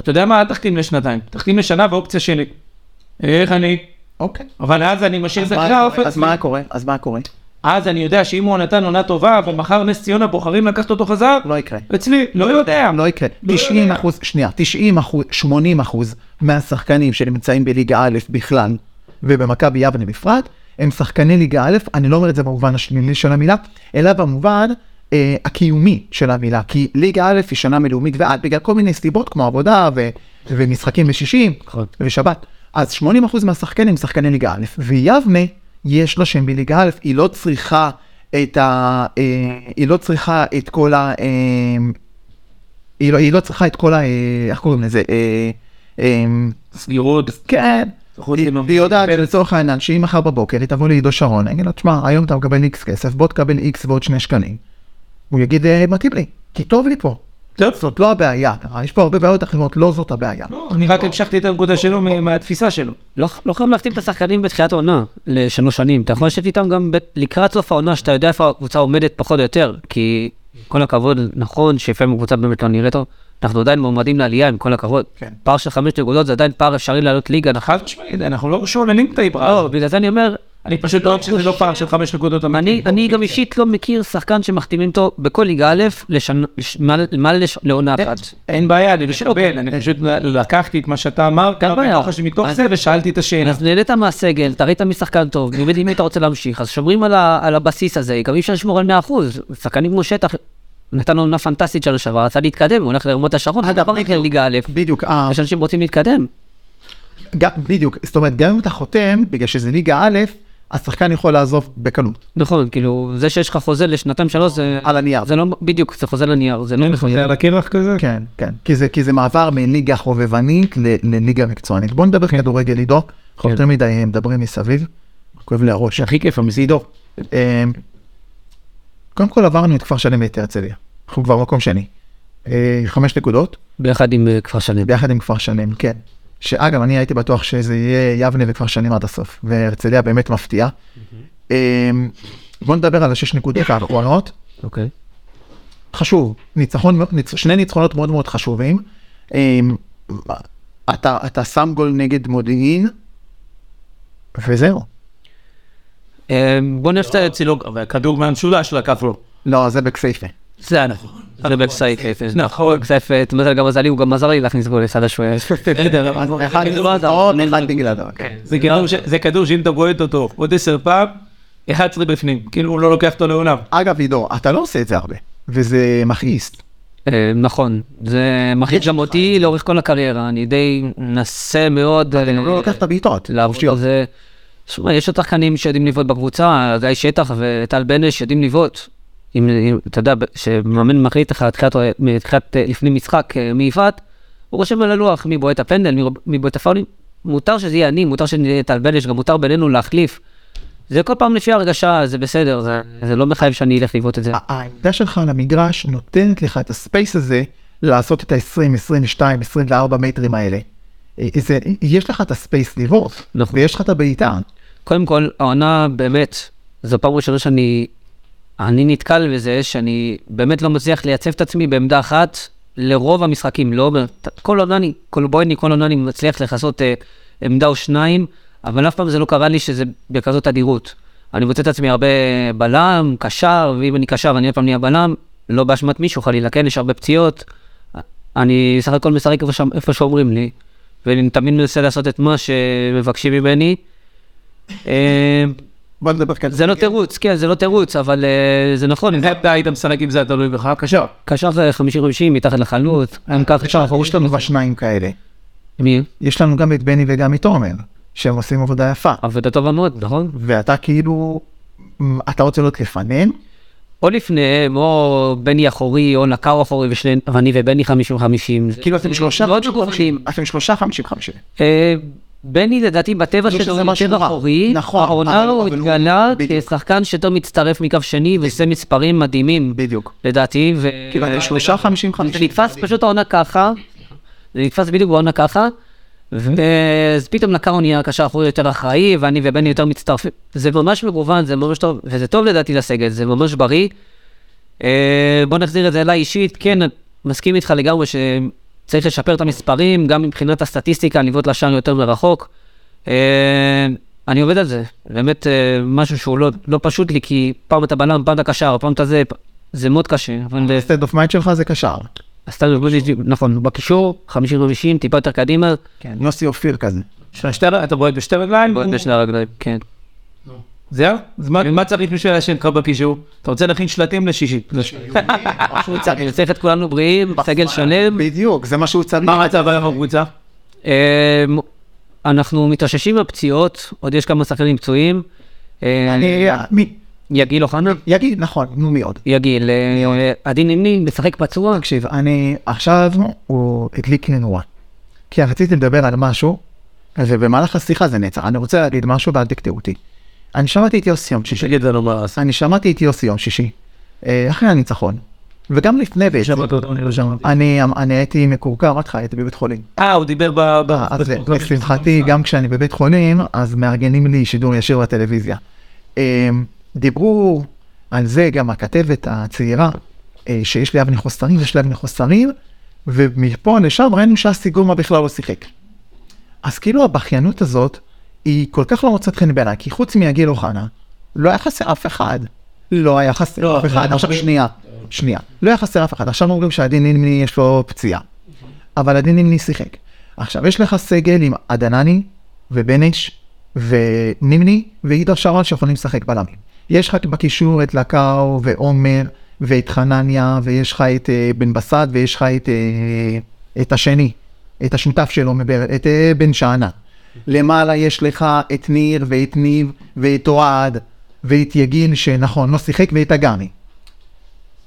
A: אתה יודע מה? אל תחתים לשנתיים, תחתים לשנה ואופציה שלי. איך אני?
D: אוקיי.
A: אבל אז אני משאיר את זה
D: מה
A: ככה,
D: קורה?
A: אופציה.
D: אז מה קורה? אז מה קורה?
A: אז אני יודע שאם הוא נתן עונה טובה, אבל מחר נס ציונה בוחרים לקחת אותו חזר,
D: לא יקרה.
A: אצלי, לא יודע.
D: לא יקרה. 90 אחוז, שנייה, 90 אחוז, 80 אחוז מהשחקנים שנמצאים בליגה א' בכלל, ובמכבי יבנה בפרט, הם שחקני ליגה א', אני לא אומר את זה במובן השלילי של המילה, אלא במובן אה, הקיומי של המילה, כי ליגה א' היא שנה מלאומית ועד, בגלל כל מיני סיבות כמו עבודה ו, ומשחקים בשישים
E: נכון.
D: ושבת. אז 80 אחוז מהשחקנים שחקני ליגה א', ויבנה, יש לה שם בליגה א', היא לא צריכה את ה... אה, היא לא צריכה את כל ה... אה, היא לא, היא לא צריכה את כל ה... אה, איך קוראים לזה? אה, אה,
A: סגירות.
D: כן.
A: לפחות
D: היא
A: היא לא
D: היא יודעת
A: מקבלת.
D: לצורך העניין שאם מחר בבוקר היא תבוא לעידו שרון, אני אגיד לו, תשמע, היום אתה מקבל איקס כסף, בוא תקבל איקס ועוד שני שקלים. הוא יגיד, "אה, מתאים לי, כי טוב לי פה.
A: טוב.
D: זאת לא הבעיה, יש פה הרבה בעיות אחרות, לא זאת הבעיה.
A: לא, אני רק המשכתי את הנקודה שלו מה- מהתפיסה שלו.
E: לא, לא חייב להחתים את השחקנים בתחילת העונה לשלוש שנים, אתה יכול לשבת איתם גם ב- לקראת סוף העונה, שאתה יודע איפה הקבוצה עומדת פחות או יותר, כי כל הכבוד, נכון שלפעמים הקבוצה באמת לא נראית טוב, אנחנו עדיין מועמדים לעלייה עם כל הכבוד.
D: כן.
E: פער של חמש נקודות זה עדיין פער אפשרי לעלות ליגה, נכון?
A: חד משמעית, אנחנו לא שוללים את האיברה
E: לא,
A: הזאת.
E: בגלל זה אני אומר,
A: אני פשוט לא חושב שזה לא פער של חמש נקודות
E: אני,
A: אמיתי.
E: אני גם אישית לא מכיר שחקן שמחתימים אותו בכל ליגה א' לשנ... לש... מעל- מעל לש... לעונה אחת.
A: אין בעיה, אני משקבל, אני פשוט לקחתי את מה שאתה אמרת,
E: אין בעיה.
A: מתוך- מתוך זה ושאלתי את השאלה.
E: כן, אז נהנית מהסגל, אתה ראית מי שחקן טוב, באמת אם אתה רוצה להמשיך, אז שומרים על, ה... על הבסיס הזה, גם אי אפשר לשמור על 100%. שחקנים כמו שטח, נתן לו עונה פנטסטית שנה שעברה, רצה להתקדם, הוא הולך לרמות השרון,
D: אגב,
E: הוא כבר הולך לליגה א',
D: בדיוק, אה,
E: יש אנשים רוצים להתקדם.
D: גם- בדיוק, זאת אומרת, גם אם אתה חותם, בגלל שזה ליגה א', השחקן יכול לעזוב בקלות,
E: נכון, כאילו, זה שיש לך חוזה לשנתיים שלוש, זה...
D: על הנייר.
E: זה לא, בדיוק, זה חוזה לנייר, זה לא...
A: על הקרח כזה?
D: כן, כן, כי זה, כי זה מעבר מליגה חובבנית ל, לליגה מקצוענית. בוא
A: כן.
D: נדבר כדורגל עידו, אנחנו יותר מדי אה, מדברים מסביב, כואב לי הראש.
A: הכי כיף, המזיד.
D: עידו, אמ, קודם כל עברנו את כפר שלם ואת הרצליה, אנחנו כבר מקום שני. אה, חמש נקודות,
E: ביחד עם אה, כפר שלם.
D: ביחד עם כפר שלם, כן. שאגב, אני הייתי בטוח שזה יהיה יבנה וכפר שלם עד הסוף, והרצליה באמת מפתיעה. אמ, בוא נדבר על השש נקודות האחרונות.
E: אוקיי.
D: חשוב, ניצחון, ניצ- שני ניצחונות מאוד מאוד חשובים. אמ, אתה, אתה שם גול נגד מודיעין, וזהו.
E: אה, בוא נפתח את
A: צילוג, אבל הכדור מהמשולש לקח לו.
D: לא, זה בכסייפה.
E: זה אנחנו. זה בכסייפה.
A: נכון.
E: בכסייפה, אתה אומר גם מזלי, הוא גם עזר לי להכניס גול לצד השוער. לא
A: בסדר, אבל-
D: אחד
E: עזר.
D: ניצחון, אחד בגללו. כן.
A: זה כדור ש- זה כדור שאם אתה בועט אותו עוד עשר פעם, 11 בפנים, כאילו הוא לא לוקח אותו לעולם.
D: אגב, עידו, אתה לא עושה את זה הרבה, וזה מכעיס.
E: אה, נכון, זה מחליט גם אותי לאורך כל הקריירה, אני די מנסה מאוד אה,
D: הוא לא לוקח את הבעיטות.
E: לעבוד על זה. שמע, יש עוד שחקנים שיודעים לבעוט בקבוצה, גיא שטח וטל בנש יודעים לבעוט. אם, אם אתה יודע, שמאמן מחליט לך תחילת- מתחילת, אה, לפני משחק אה, מי יבעט, הוא רושם על הלוח מי בועט הפנדל, מי- מי בועט הפאולים. מותר שזה יהיה אני, מותר שזה יהיה טל בנש, גם מותר בינינו להחליף. זה כל פעם לפי הרגשה, זה בסדר, זה- זה לא מחייב שאני אלך לבעוט את זה.
D: ה- העמדה שלך על המגרש נותנת לך את הספייס הזה לעשות את ה-20, 22, 24 מטרים האלה. אה, זה, יש לך את הספייס לבעוט,
E: נכון.
D: ויש לך את הבעיטה.
E: קודם כל, העונה באמת, זו פעם ראשונה שאני אני נתקל בזה, שאני באמת לא מצליח לייצב את עצמי בעמדה אחת לרוב המשחקים, לא, אומר- ת- כל עונה אני, כל בויני, כל עונה אני מצליח לכסות אה, עמדה או שניים, אבל אף פעם זה לא קרה לי שזה בכזאת תדירות. אני מוצא את עצמי הרבה בלם, קשר, ואם אני קשר אני עוד פעם נהיה בלם, לא באשמת מישהו חלילה, כן, יש הרבה פציעות. אני סך הכל משחק איפה, שם- איפה שאומרים לי, ואני תמיד מנסה לעשות את מה שמבקשים ממני. אה,
F: בוא נדבר כאן.
E: זה לא תירוץ, כן, זה לא תירוץ, אבל אה, זה נכון, אם זה
A: אתה היית משחק אם זה היה תלוי בך? קשה.
E: קשר זה 50-50 מתחת לחלוץ, גם
F: אה,
E: ככה
D: יש לנו- יש לנו כבר שניים כאלה.
E: מי?
D: יש לנו גם את בני וגם את עומר, שהם עושים עבודה יפה.
E: עבודה טובה מאוד, נכון?
D: ואתה כאילו, מ, אתה רוצה להיות לפניהם,
E: או לפניהם, או בני אחורי, או נקר אחורי, ושני- ואני ובני 50-50. זה-
F: כאילו אתם שלושה,
E: מאוד מגוחכים.
F: אתם שלושה חמישים חמישים.
E: אה, בני לדעתי בטבע
F: לא
E: שלו
F: שזה
E: הוא
F: משהו
E: יותר
F: נורא.
E: אחורי,
F: נכון, אבל-
E: העונה הוא
F: אבל הוא-
E: התגלה
F: בדיוק.
E: כשחקן שיותר מצטרף מקו שני, ועושה מספרים מדהימים,
F: בדיוק.
E: לדעתי, ו...
F: כאילו אתם שלושה חמישים
E: אה, זה
F: חמישים.
E: נתפס פשוט העונה ככה, זה נתפס בדיוק בעונה ככה, ואז פתאום לקארו נהיה קשר אחורי יותר אחראי, ואני ובני יותר מצטרפים. זה ממש מגוון, זה ממש טוב, וזה טוב לדעתי לסגל, זה ממש בריא. אה, בוא נחזיר את זה אליי אישית, כן, מסכים איתך לגמרי שצריך לשפר את המספרים, גם מבחינת הסטטיסטיקה, לבעוט לשער יותר מרחוק. אה, אני עובד על זה, באמת אה, משהו שהוא לא, לא פשוט לי, כי פעם אתה בלם, פעם אתה קשר, פעם אתה זה, זה מאוד קשה, אבל...
D: וסטד אוף מיינד שלך זה קשר.
E: הסטאדיו גוז'יץ', נכון, בקישור, 50 50, טיפה יותר קדימה,
D: יוסי אופיר כזה.
A: שתי ר- אתה בועט בשתי רגליים?
E: בועט בשני הרגליים, כן.
A: זהו? אז מה- מה צריך בשביל להשאיר לך בקישור? אתה רוצה להכין שלטים לשישי.
E: אני צריך את כולנו בריאים, סגל שלם.
F: בדיוק, זה מה שהוא צריך.
A: מה המצב היום בקבוצה?
E: אה, אנחנו מתאוששים מהפציעות, עוד יש כמה שחקנים פצועים. אה,
D: אה, מי?
E: יגיל אוחנה?
D: יגיד, נכון, נו מי עוד?
E: יגיל, אה, אה, עדי נמני משחק פצוע?
D: תקשיב, אני עכשיו, הוא הדליק לי נורה. כי רציתי לדבר על משהו, ובמהלך השיחה זה נעצר. אני רוצה להגיד משהו ואל תקטעו אותי. אני שמעתי את יוסי יום שישי.
A: תגיד לנו מה עשה.
D: אני שמעתי את יוסי יום שישי. אה, אחרי הניצחון. וגם לפני בעצם.
A: שמעת אותו, אני לא שמעתי.
D: אני אני הייתי מקורקר, אמרתי לך, הייתי בבית חולים.
A: אה, הוא דיבר ב... ב-
D: אז לשמחתי, גם כשאני בבית חולים, אז מארגנים לי שידור ישיר בטלוויזיה. אמ, דיברו על זה גם הכתבת הצעירה, אה, שיש לאבני חוסרים, יש לאבני חוסרים, ומפה לשם ראינו שאסי גומה בכלל לא שיחק. אז כאילו הבכיינות הזאת, היא כל כך לא מוצאת חן בעיניי, כי חוץ מיגיל אוחנה, לא היה חסר אף אחד. לא היה חסר
A: לא,
D: אף אחד.
A: אבל-
D: עכשיו שנייה, שנייה. לא היה חסר אף אחד. עכשיו אומרים שהדין נימני יש לו פציעה. אבל עדי נימני שיחק. עכשיו, יש לך סגל עם עדנני ובניש ונימני ועידו שרון שיכולים לשחק בלמים. יש לך בקישור את לקאו ועומר ואת חנניה ויש לך את אה, בן בסט ויש לך את, אה, את השני, את השותף שלו, מבר, את אה, בן שאנה. למעלה יש לך את ניר ואת ניב ואת אוהד ואת יגיל שנכון, לא שיחק ואת אגמי.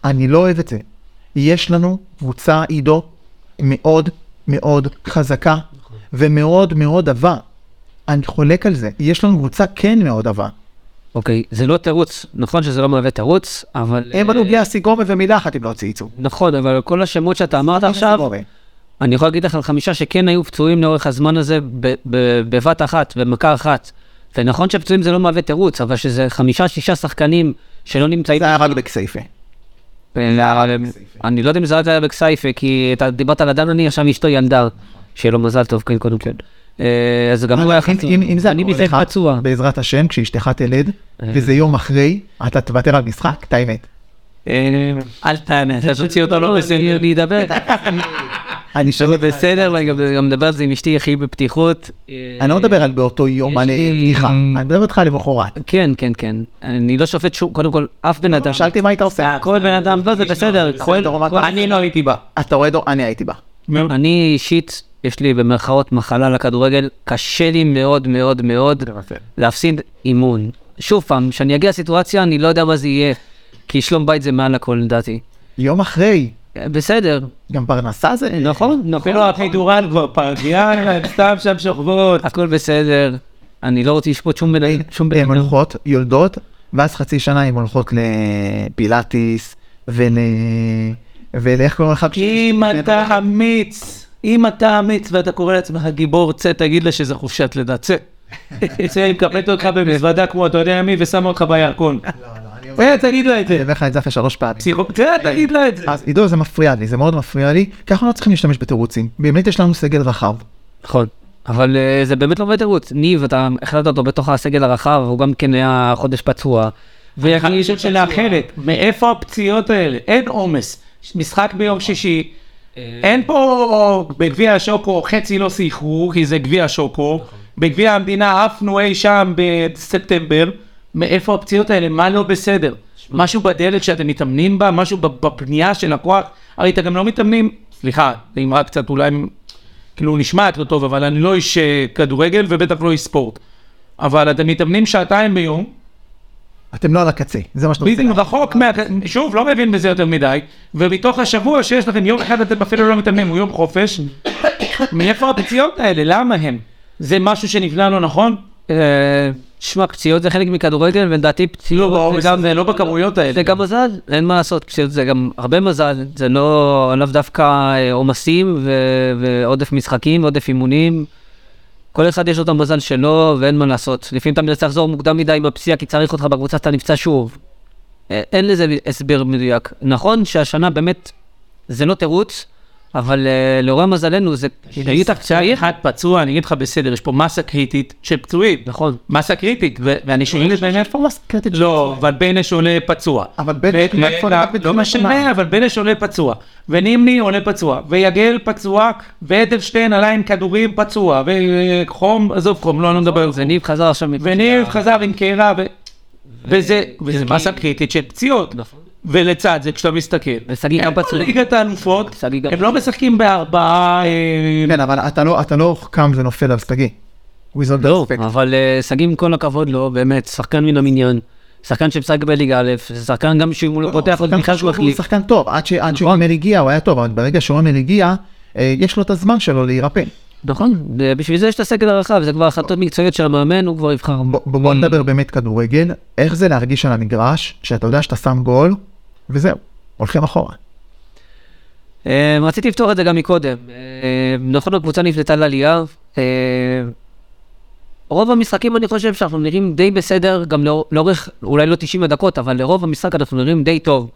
D: אני לא אוהב את זה. יש לנו קבוצה עידו מאוד מאוד חזקה ומאוד מאוד עבה. אני חולק על זה. יש לנו קבוצה כן מאוד עבה.
E: אוקיי, זה לא תירוץ, נכון שזה לא מהווה תירוץ, אבל...
D: הם
E: אה,
D: עלו בלי הסיגומה ומילה אחת אם לא צייצו.
E: נכון, אבל כל השמות שאתה אמרת עכשיו, אני יכול להגיד לך על חמישה שכן היו פצועים לאורך הזמן הזה ב- ב- בבת אחת, במכה אחת. ונכון שפצועים זה לא מהווה תירוץ, אבל שזה חמישה, שישה שחקנים שלא נמצאים...
D: זה היה רק בכסייפה.
E: אני לא יודע אם זה רק היה בכסייפה, כי אתה דיברת על אדם עני, עכשיו אשתו ילדה. שיהיה לו מזל טוב, כן, קודם כל. אה, אז גם הוא היה
D: אם-
E: חצי.
D: אם אם זה
E: אני
D: אני
E: מזה
D: לך,
E: פצוע. אה.
D: בעזרת השם, כשאשתך תלד, וזה יום אחרי, אתה תוותר על משחק, את האמת.
E: אה,
A: אל תענה, אתה תוציא אותו לא בסדר.
E: אני אדבר.
D: אני לא שואל-
E: בסדר, אני גם גם מדבר על זה עם אשתי הכי בפתיחות.
D: אני לא מדבר על באותו יום, על
E: לי-
D: פתיחה. אני מדבר איתך למחרת.
E: כן, כן, כן. אני לא שופט שום, קודם כל, אף בן אדם.
D: שאלתי מה היית עושה.
E: כל בן אדם, לא, זה בסדר, כל- כל-
A: אני לא הייתי בא.
D: אתה רואה דור? אני הייתי בה.
E: אני אישית, יש לי במרכאות מחלה לכדורגל, קשה לי מאוד מאוד מאוד להפסיד אימון. שוב פעם, כשאני אגיע לסיטואציה, אני לא יודע מה זה יהיה, כי שלום בית זה מעל הכל לדעתי.
D: יום אחרי,
E: בסדר,
D: גם פרנסה זה...
A: לא,
E: נכון, נכון,
A: אפילו הכדורן כבר פרגיה, סתם שם שוכבות.
E: הכל בסדר. אני לא רוצה לשפוט שום בנאי, שום
D: הן
E: בנאי.
D: הולכות, יולדות, ואז חצי שנה הן הולכות לפילאטיס ול... ולאיך קוראים לך?
A: אם אתה אמיץ, אם אתה אמיץ ואתה קורא לעצמך גיבור, צא, תגיד לה שזה חופשת לידה, צא. צא, היא מקפלת אותך במזוודה כמו אתה יודע מי, ושמה אותך בירקון. צא, תגיד לה את
D: לא, אני
A: זה.
D: אומר לך את זה אחרי שלוש פעמים.
A: פסיכו- צא, תגיד לה את זה.
D: אז עידו, זה מפריע לי, זה מאוד מפריע לי, כי אנחנו לא צריכים להשתמש בתירוצים. באמת יש לנו סגל רחב.
E: נכון. אבל אה, זה באמת לא באמת תירוץ. ניב, אתה החלטת אותו בתוך הסגל הרחב, הוא גם כן היה חודש פצוע.
A: ואני לשאול שאלה אחרת, מאיפה הפציעות האלה? אין עומס. משחק ביום שישי, אין פה בגביע השוקו חצי לא שיחרו, כי זה גביע השוקו. בגביע המדינה עפנו אי שם בספטמבר. מאיפה הפציעות האלה? מה לא בסדר? משהו בדלת שאתם מתאמנים בה? משהו ב- בפנייה של הכוח? הרי אתם גם לא מתאמנים, סליחה, זו אמרה קצת אולי, כאילו נשמעת לא טוב, אבל אני לא איש אה, כדורגל ובטח לא איש ספורט. אבל אתם מתאמנים שעתיים ביום,
D: אתם לא על הקצה, זה מה שאתה רוצה.
A: בדיוק, רחוק מה... שוב, לא מבין בזה יותר מדי, ומתוך השבוע שיש לכם יום אחד אתם אפילו לא מתאמנים, הוא יום חופש. מאיפה הפציעות האלה? למה הם? זה משהו שנבנה לא נכון?
E: אה, שמע, פציעות זה חלק מכדורגל, ולדעתי
A: לא
E: פציעות
A: בעומס
E: זה גם...
A: הזה, לא בכמויות האלה.
E: זה גם מזל, אין מה לעשות, פציעות זה גם הרבה מזל, זה לא, לאו דווקא אה, עומסים ו- ועודף משחקים, עודף אימונים. כל אחד יש לו את המזל שלו, ואין מה לעשות. לפעמים אתה מנסה לחזור מוקדם מדי עם הפציעה, כי צריך אותך בקבוצה, אתה נפצע שוב. אה, אין לזה הסבר מדויק. נכון שהשנה באמת, זה לא תירוץ, אבל אה, לרוע מזלנו זה...
A: היית פציעה אחד פצוע, אני אגיד לך בסדר, יש פה מסה קריטית של פצועים.
E: נכון.
A: מסה קריטית, ו- ואני שואל את בן איפה מסה קריטית? לא, אבל בנש עולה פצוע.
D: אבל בנש-
A: ו-
D: מאיפה
A: לא-
D: נדע בדיוק
A: לא משנה,
D: מה?
A: אבל בנש עולה פצוע. ונימני עולה פצוע. ויגל פצוע. ואדלשטיין עלה עם כדורים פצוע. וחום, עזוב חום, לא, אני לא מדבר על זה.
E: וניב חזר עכשיו מפציעה.
A: וניב חזר עם קערה. ו- וזה וזה מסה קריטית של פציעות.
E: נכון.
A: ולצד זה, כשאתה מסתכל.
E: ושגיא גם פצוע.
A: ליגת האלופות,
E: שגיא גם
A: הם לא משחקים בארבעה... אה,
D: כן, אבל אתה לא, אתה לא קם ונופל על סגי. וויזון דרספקט.
E: אבל אה, שגיא, עם כל הכבוד לו, באמת, שחקן מן המניין, שחקן שמשחק בליגה א', זה שחקן גם שאם הוא נכון. לא פותח עוד בכלל שהוא
D: הוא
E: מחליף.
D: שחקן טוב, עד ש- עד שאומר הגיע הוא היה טוב, אבל ברגע שאומר הגיע, אה, יש לו את הזמן שלו להירפא.
E: נכון, אה, בשביל זה יש את הסגל הרחב, זה כבר החלטות מקצועיות של המאמן, הוא כבר יבחר.
D: בוא-
A: Mm.
D: בוא נדבר באמת כדורגל, איך זה להרגיש על המגרש, שאתה יודע שאתה שם גול, וזהו, הולכים אחורה.
E: אה, רציתי לפתור את זה גם מקודם. אה, נכון, הקבוצה נבנתה לעלייה. אה, רוב המשחקים, אני חושב שאנחנו נראים די בסדר, גם לאור- לאורך, אולי לא 90 הדקות, אבל לרוב המשחק אנחנו נראים די טוב.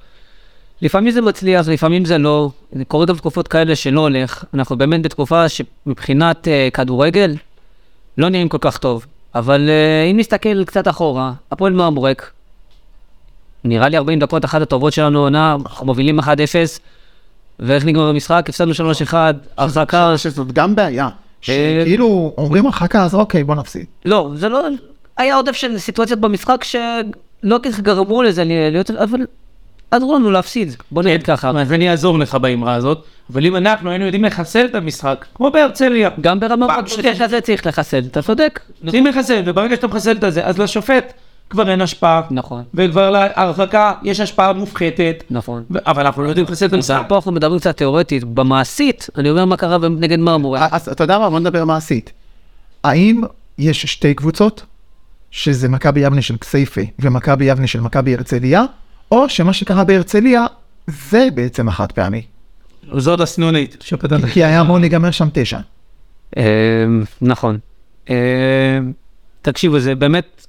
E: לפעמים זה מצליח, לפעמים זה לא. זה קורה גם תקופות כאלה שלא הולך. אנחנו באמת בתקופה שמבחינת אה, כדורגל, לא נראים כל כך טוב. אבל אה, אם נסתכל קצת אחורה, הפועל מרמורק, נראה לי 40 דקות אחת הטובות שלנו עונה, אנחנו מובילים 1-0, ואיך נגמר המשחק? הפסדנו 3-1, הרחקה...
F: שזאת גם בעיה.
D: כאילו, אומרים הרחקה, אז אוקיי, בוא נפסיד.
E: לא, זה לא... היה עודף של סיטואציות במשחק שלא כל כך גרמו לזה להיות... אבל עזרו לנו להפסיד. בוא נגיד ככה.
A: אז אני אעזור לך באמרה הזאת, אבל אם אנחנו היינו יודעים לחסל את המשחק, כמו בהרצליה,
E: גם ברמה
A: פעם
E: פשוטה כזה צריך לחסל, אתה צודק.
A: יודעים לחסל, וברגע שאתה מחסל את זה, אז לשופט כבר אין השפעה,
E: נכון,
A: וכבר להרחקה יש השפעה מופחתת,
E: נכון.
A: ו- אבל אנחנו לא יודעים לחסל את המשחק.
E: פה אנחנו מדברים קצת תיאורטית, במעשית, אני אומר מה קרה באמת נגד מרמורה.
D: אה, אז אתה יודע מה, בוא נדבר מעשית. האם יש שתי קבוצות, שזה מכבי יבנה של כסייפה ומכבי יבנה של מכבי הרצליה, או שמה שקרה בהרצליה, זה בעצם החד פעמי.
A: זאת הסנונית.
D: כי היה אמור להיגמר שם תשע.
E: אמ, נכון. אמ, תקשיבו, זה באמת,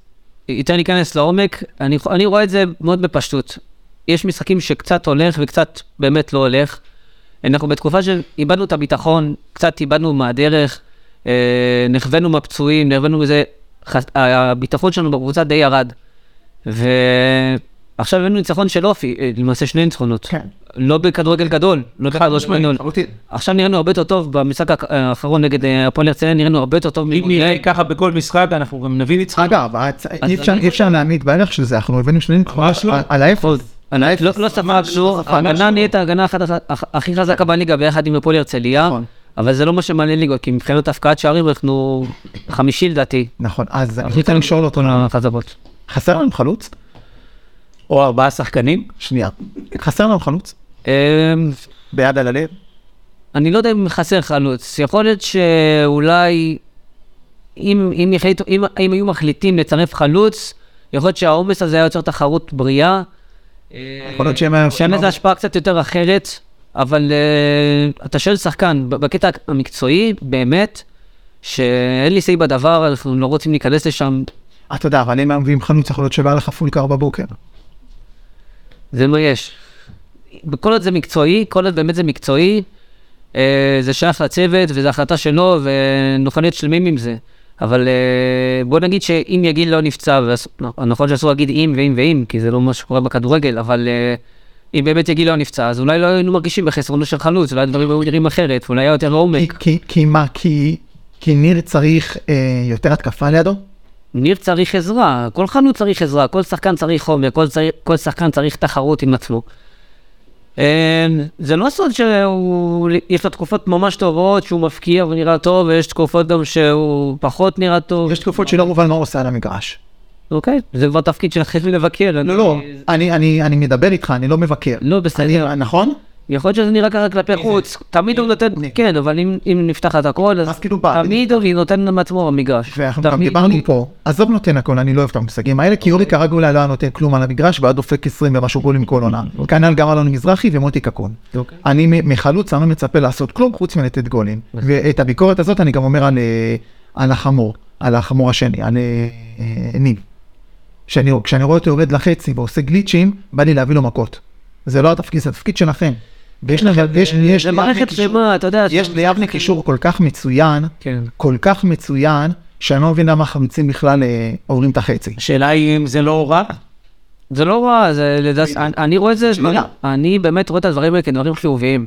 E: יותר להיכנס לעומק, אני, חו- אני רואה את זה מאוד בפשטות. יש משחקים שקצת הולך וקצת באמת לא הולך. אנחנו בתקופה שאיבדנו את הביטחון, קצת איבדנו מהדרך, אה, נכוונו מהפצועים, נכוונו מזה, חס- הביטחון שלנו בקבוצה די ירד. ועכשיו הבאנו ניצחון של אופי, אה, למעשה שני ניצחונות.
D: כן. אוקיי,
E: לא בכדורגל גדול, לא בכלל ראש מנון. עכשיו נראינו הרבה יותר טוב במשחק הק- האחרון נגד אה, הפועל הרצליה, נראינו הרבה יותר טוב
A: אם נראה ככה בכל משחק, אנחנו גם נביא ניצחון.
D: אגב, הצ- אי אפשר- אי אפשר להעמיד בערך של זה, אנחנו הבאנו שני
A: ממש לא.
D: על האפס.
E: אנחנו אה, לא- לא ספגנו, ההגנה נהיית ההגנה אחת- אח- הכי חזקה בליגה ביחד עם הפועל הרצליה,
D: נכון.
E: אבל זה לא מה שמעניין ליגות, כי מבחינת הפקעת שערים אנחנו חמישי לדעתי,
D: נכון, אז אני רוצה לשאול אותו,
A: נכון.
E: החזקות.
D: חסר לנו חלוץ?
A: או ארבעה שחקנים.
D: שנייה. חסר לנו חלוץ?
E: אמ,
F: ביד על הלב.
E: אני לא יודע אם חסר חלוץ, יכול להיות שאולי אם, אם, יחליטו, אם, אם היו מחליטים לצרף חלוץ, יכול להיות שהעומס הזה היה יוצר תחרות בריאה.
F: יכול להיות שהם... היו-
E: שם איזו השפעה קצת יותר אחרת, אבל אה, אתה שואל שחקן, ב- בקטע המקצועי, באמת, שאין לי say בדבר, אנחנו לא רוצים להיכנס לשם,
D: אתה יודע, אבל אם היו מביאים חנוץ, יכול להיות שבא לך פולקר בבוקר.
E: זה מה יש. כל עוד זה מקצועי, כל עוד באמת זה מקצועי, אה, זה שייך לצוות וזו החלטה שלו, ונוכל להיות שלמים עם זה. אבל אה, בוא נגיד שאם יגיל לא נפצע, ואס- לא, נכון שאסור להגיד אם ואם ואם, כי זה לא מה שקורה בכדורגל, אבל אה, אם באמת יגיל לא נפצע, אז אולי לא היינו מרגישים בחסרונו של חלוץ, אולי הדברים היו נראים אחרת, אולי היה יותר
D: כי-
E: עומק.
D: כי- כי מה, כי כי ניר צריך אה, יותר התקפה לידו?
E: ניר צריך עזרה, כל חנות צריך עזרה, כל שחקן צריך חומר, כל, צר... כל שחקן צריך תחרות עם עצמו. אה, זה לא סוד שהוא, יש לו תקופות ממש טובות שהוא מפקיע ונראה טוב, ויש תקופות גם שהוא פחות נראה טוב.
D: יש תקופות שלא מובן מה הוא עושה על המגרש.
E: אוקיי, זה כבר תפקיד שלכם לבקר.
D: לא, לא, אני- אני אני מדבר איתך, אני לא מבקר.
E: לא, בסדר.
D: אני- נכון?
E: יכול להיות שזה נראה ככה כלפי חוץ, תמיד הוא נותן,
D: ניר.
E: כן, אבל אם, אם נפתח את הכל,
D: אז
E: אז
D: כאילו בא,
E: תמיד הוא נותן מעצמו במגרש.
D: ואנחנו גם
E: תמיד.
D: דיברנו פה, עזוב נותן הכל, אני לא אוהב את המושגים האלה, כי אורי
E: אוקיי.
D: קרגולה לא היה נותן כלום על המגרש והיה דופק 20 ומשהו גולים כל עונה.
E: אוקיי.
D: כנ"ל גם אלון מזרחי ומוטי קקון. אני מ- מחלוץ, אני לא מצפה לעשות כלום חוץ מלתת גולים. ואת הביקורת הזאת אני גם אומר על, אה, על החמור, על החמור השני, על אה, אה, ניב. שאני- כשאני רואה אותו יורד לחצי ועושה גליצ'ים, בא לי להביא לו מכות. זה לא התפקיד, זה התפקיד שלכם. ויש לכם, יש, יש,
E: אה, זה מערכת שלמה, אתה יודע.
D: יש ליבנה קישור כל כך מצוין,
E: כן.
D: כל כך מצוין, שאני לא מבין למה החמיצים בכלל אה, עוברים את החצי.
A: השאלה היא אם זה לא רע.
E: זה לא רע, זה לדעת, אני- אני רואה את זה,
F: שאלה.
E: אני באמת רואה את הדברים האלה כדברים חיוביים.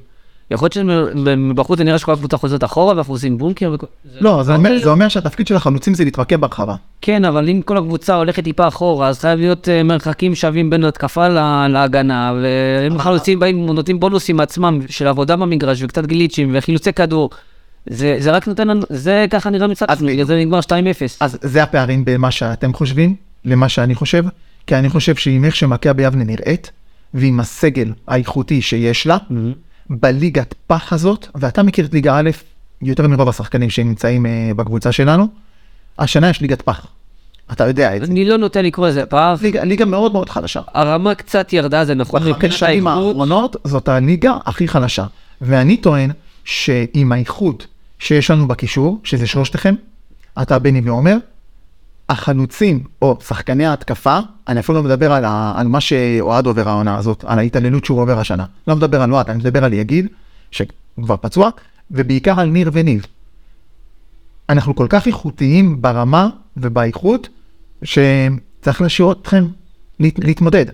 E: יכול להיות שמבחוץ זה נראה שכל הקבוצה חוזרת אחורה ואנחנו עושים בונקר וכל...
D: לא, זה אומר- זה אומר שהתפקיד של החלוצים זה להתרכב ברחבה.
E: כן, אבל אם כל הקבוצה הולכת טיפה אחורה, אז חייב להיות אה, מרחקים שווים בין התקפה לה- להגנה, ואם החלוצים באים, נותנים בונוסים מעצמם של עבודה במגרש וקצת גליצ'ים וחילוצי כדור, זה זה רק נותן לנו, זה ככה נראה מצד עצמי, זה נגמר 2-0.
D: אז זה הפערים בין מה שאתם חושבים למה שאני חושב, כי אני חושב שעם איך שמכבי יבנה נראית, ועם הסגל האיכותי שיש לה, Mm-hmm. בליגת פח הזאת, ואתה מכיר את ליגה א' יותר מרוב השחקנים שנמצאים אה, בקבוצה שלנו, השנה יש ליגת פח. אתה יודע את זה.
E: אני לא נוטה לקרוא לזה פער,
D: ליגה- ליגה מאוד מאוד חלשה.
E: הרמה קצת ירדה, זה נכון, מבחינת
D: בחמש שנים
E: האיכות.
D: האחרונות כן זאת הליגה הכי חלשה. ואני טוען שעם האיכות שיש לנו בקישור, שזה שלושתכם, אתה בני ועומר, החלוצים או שחקני ההתקפה, אני אפילו לא מדבר על, ה, על מה שאוהד עובר העונה הזאת, על ההתעללות שהוא עובר השנה. לא מדבר על אוהד, אני מדבר על יגיד, שכבר פצוע, ובעיקר על ניר וניב. אנחנו כל כך איכותיים ברמה ובאיכות, שצריך להשאיר אתכם להת, להתמודד.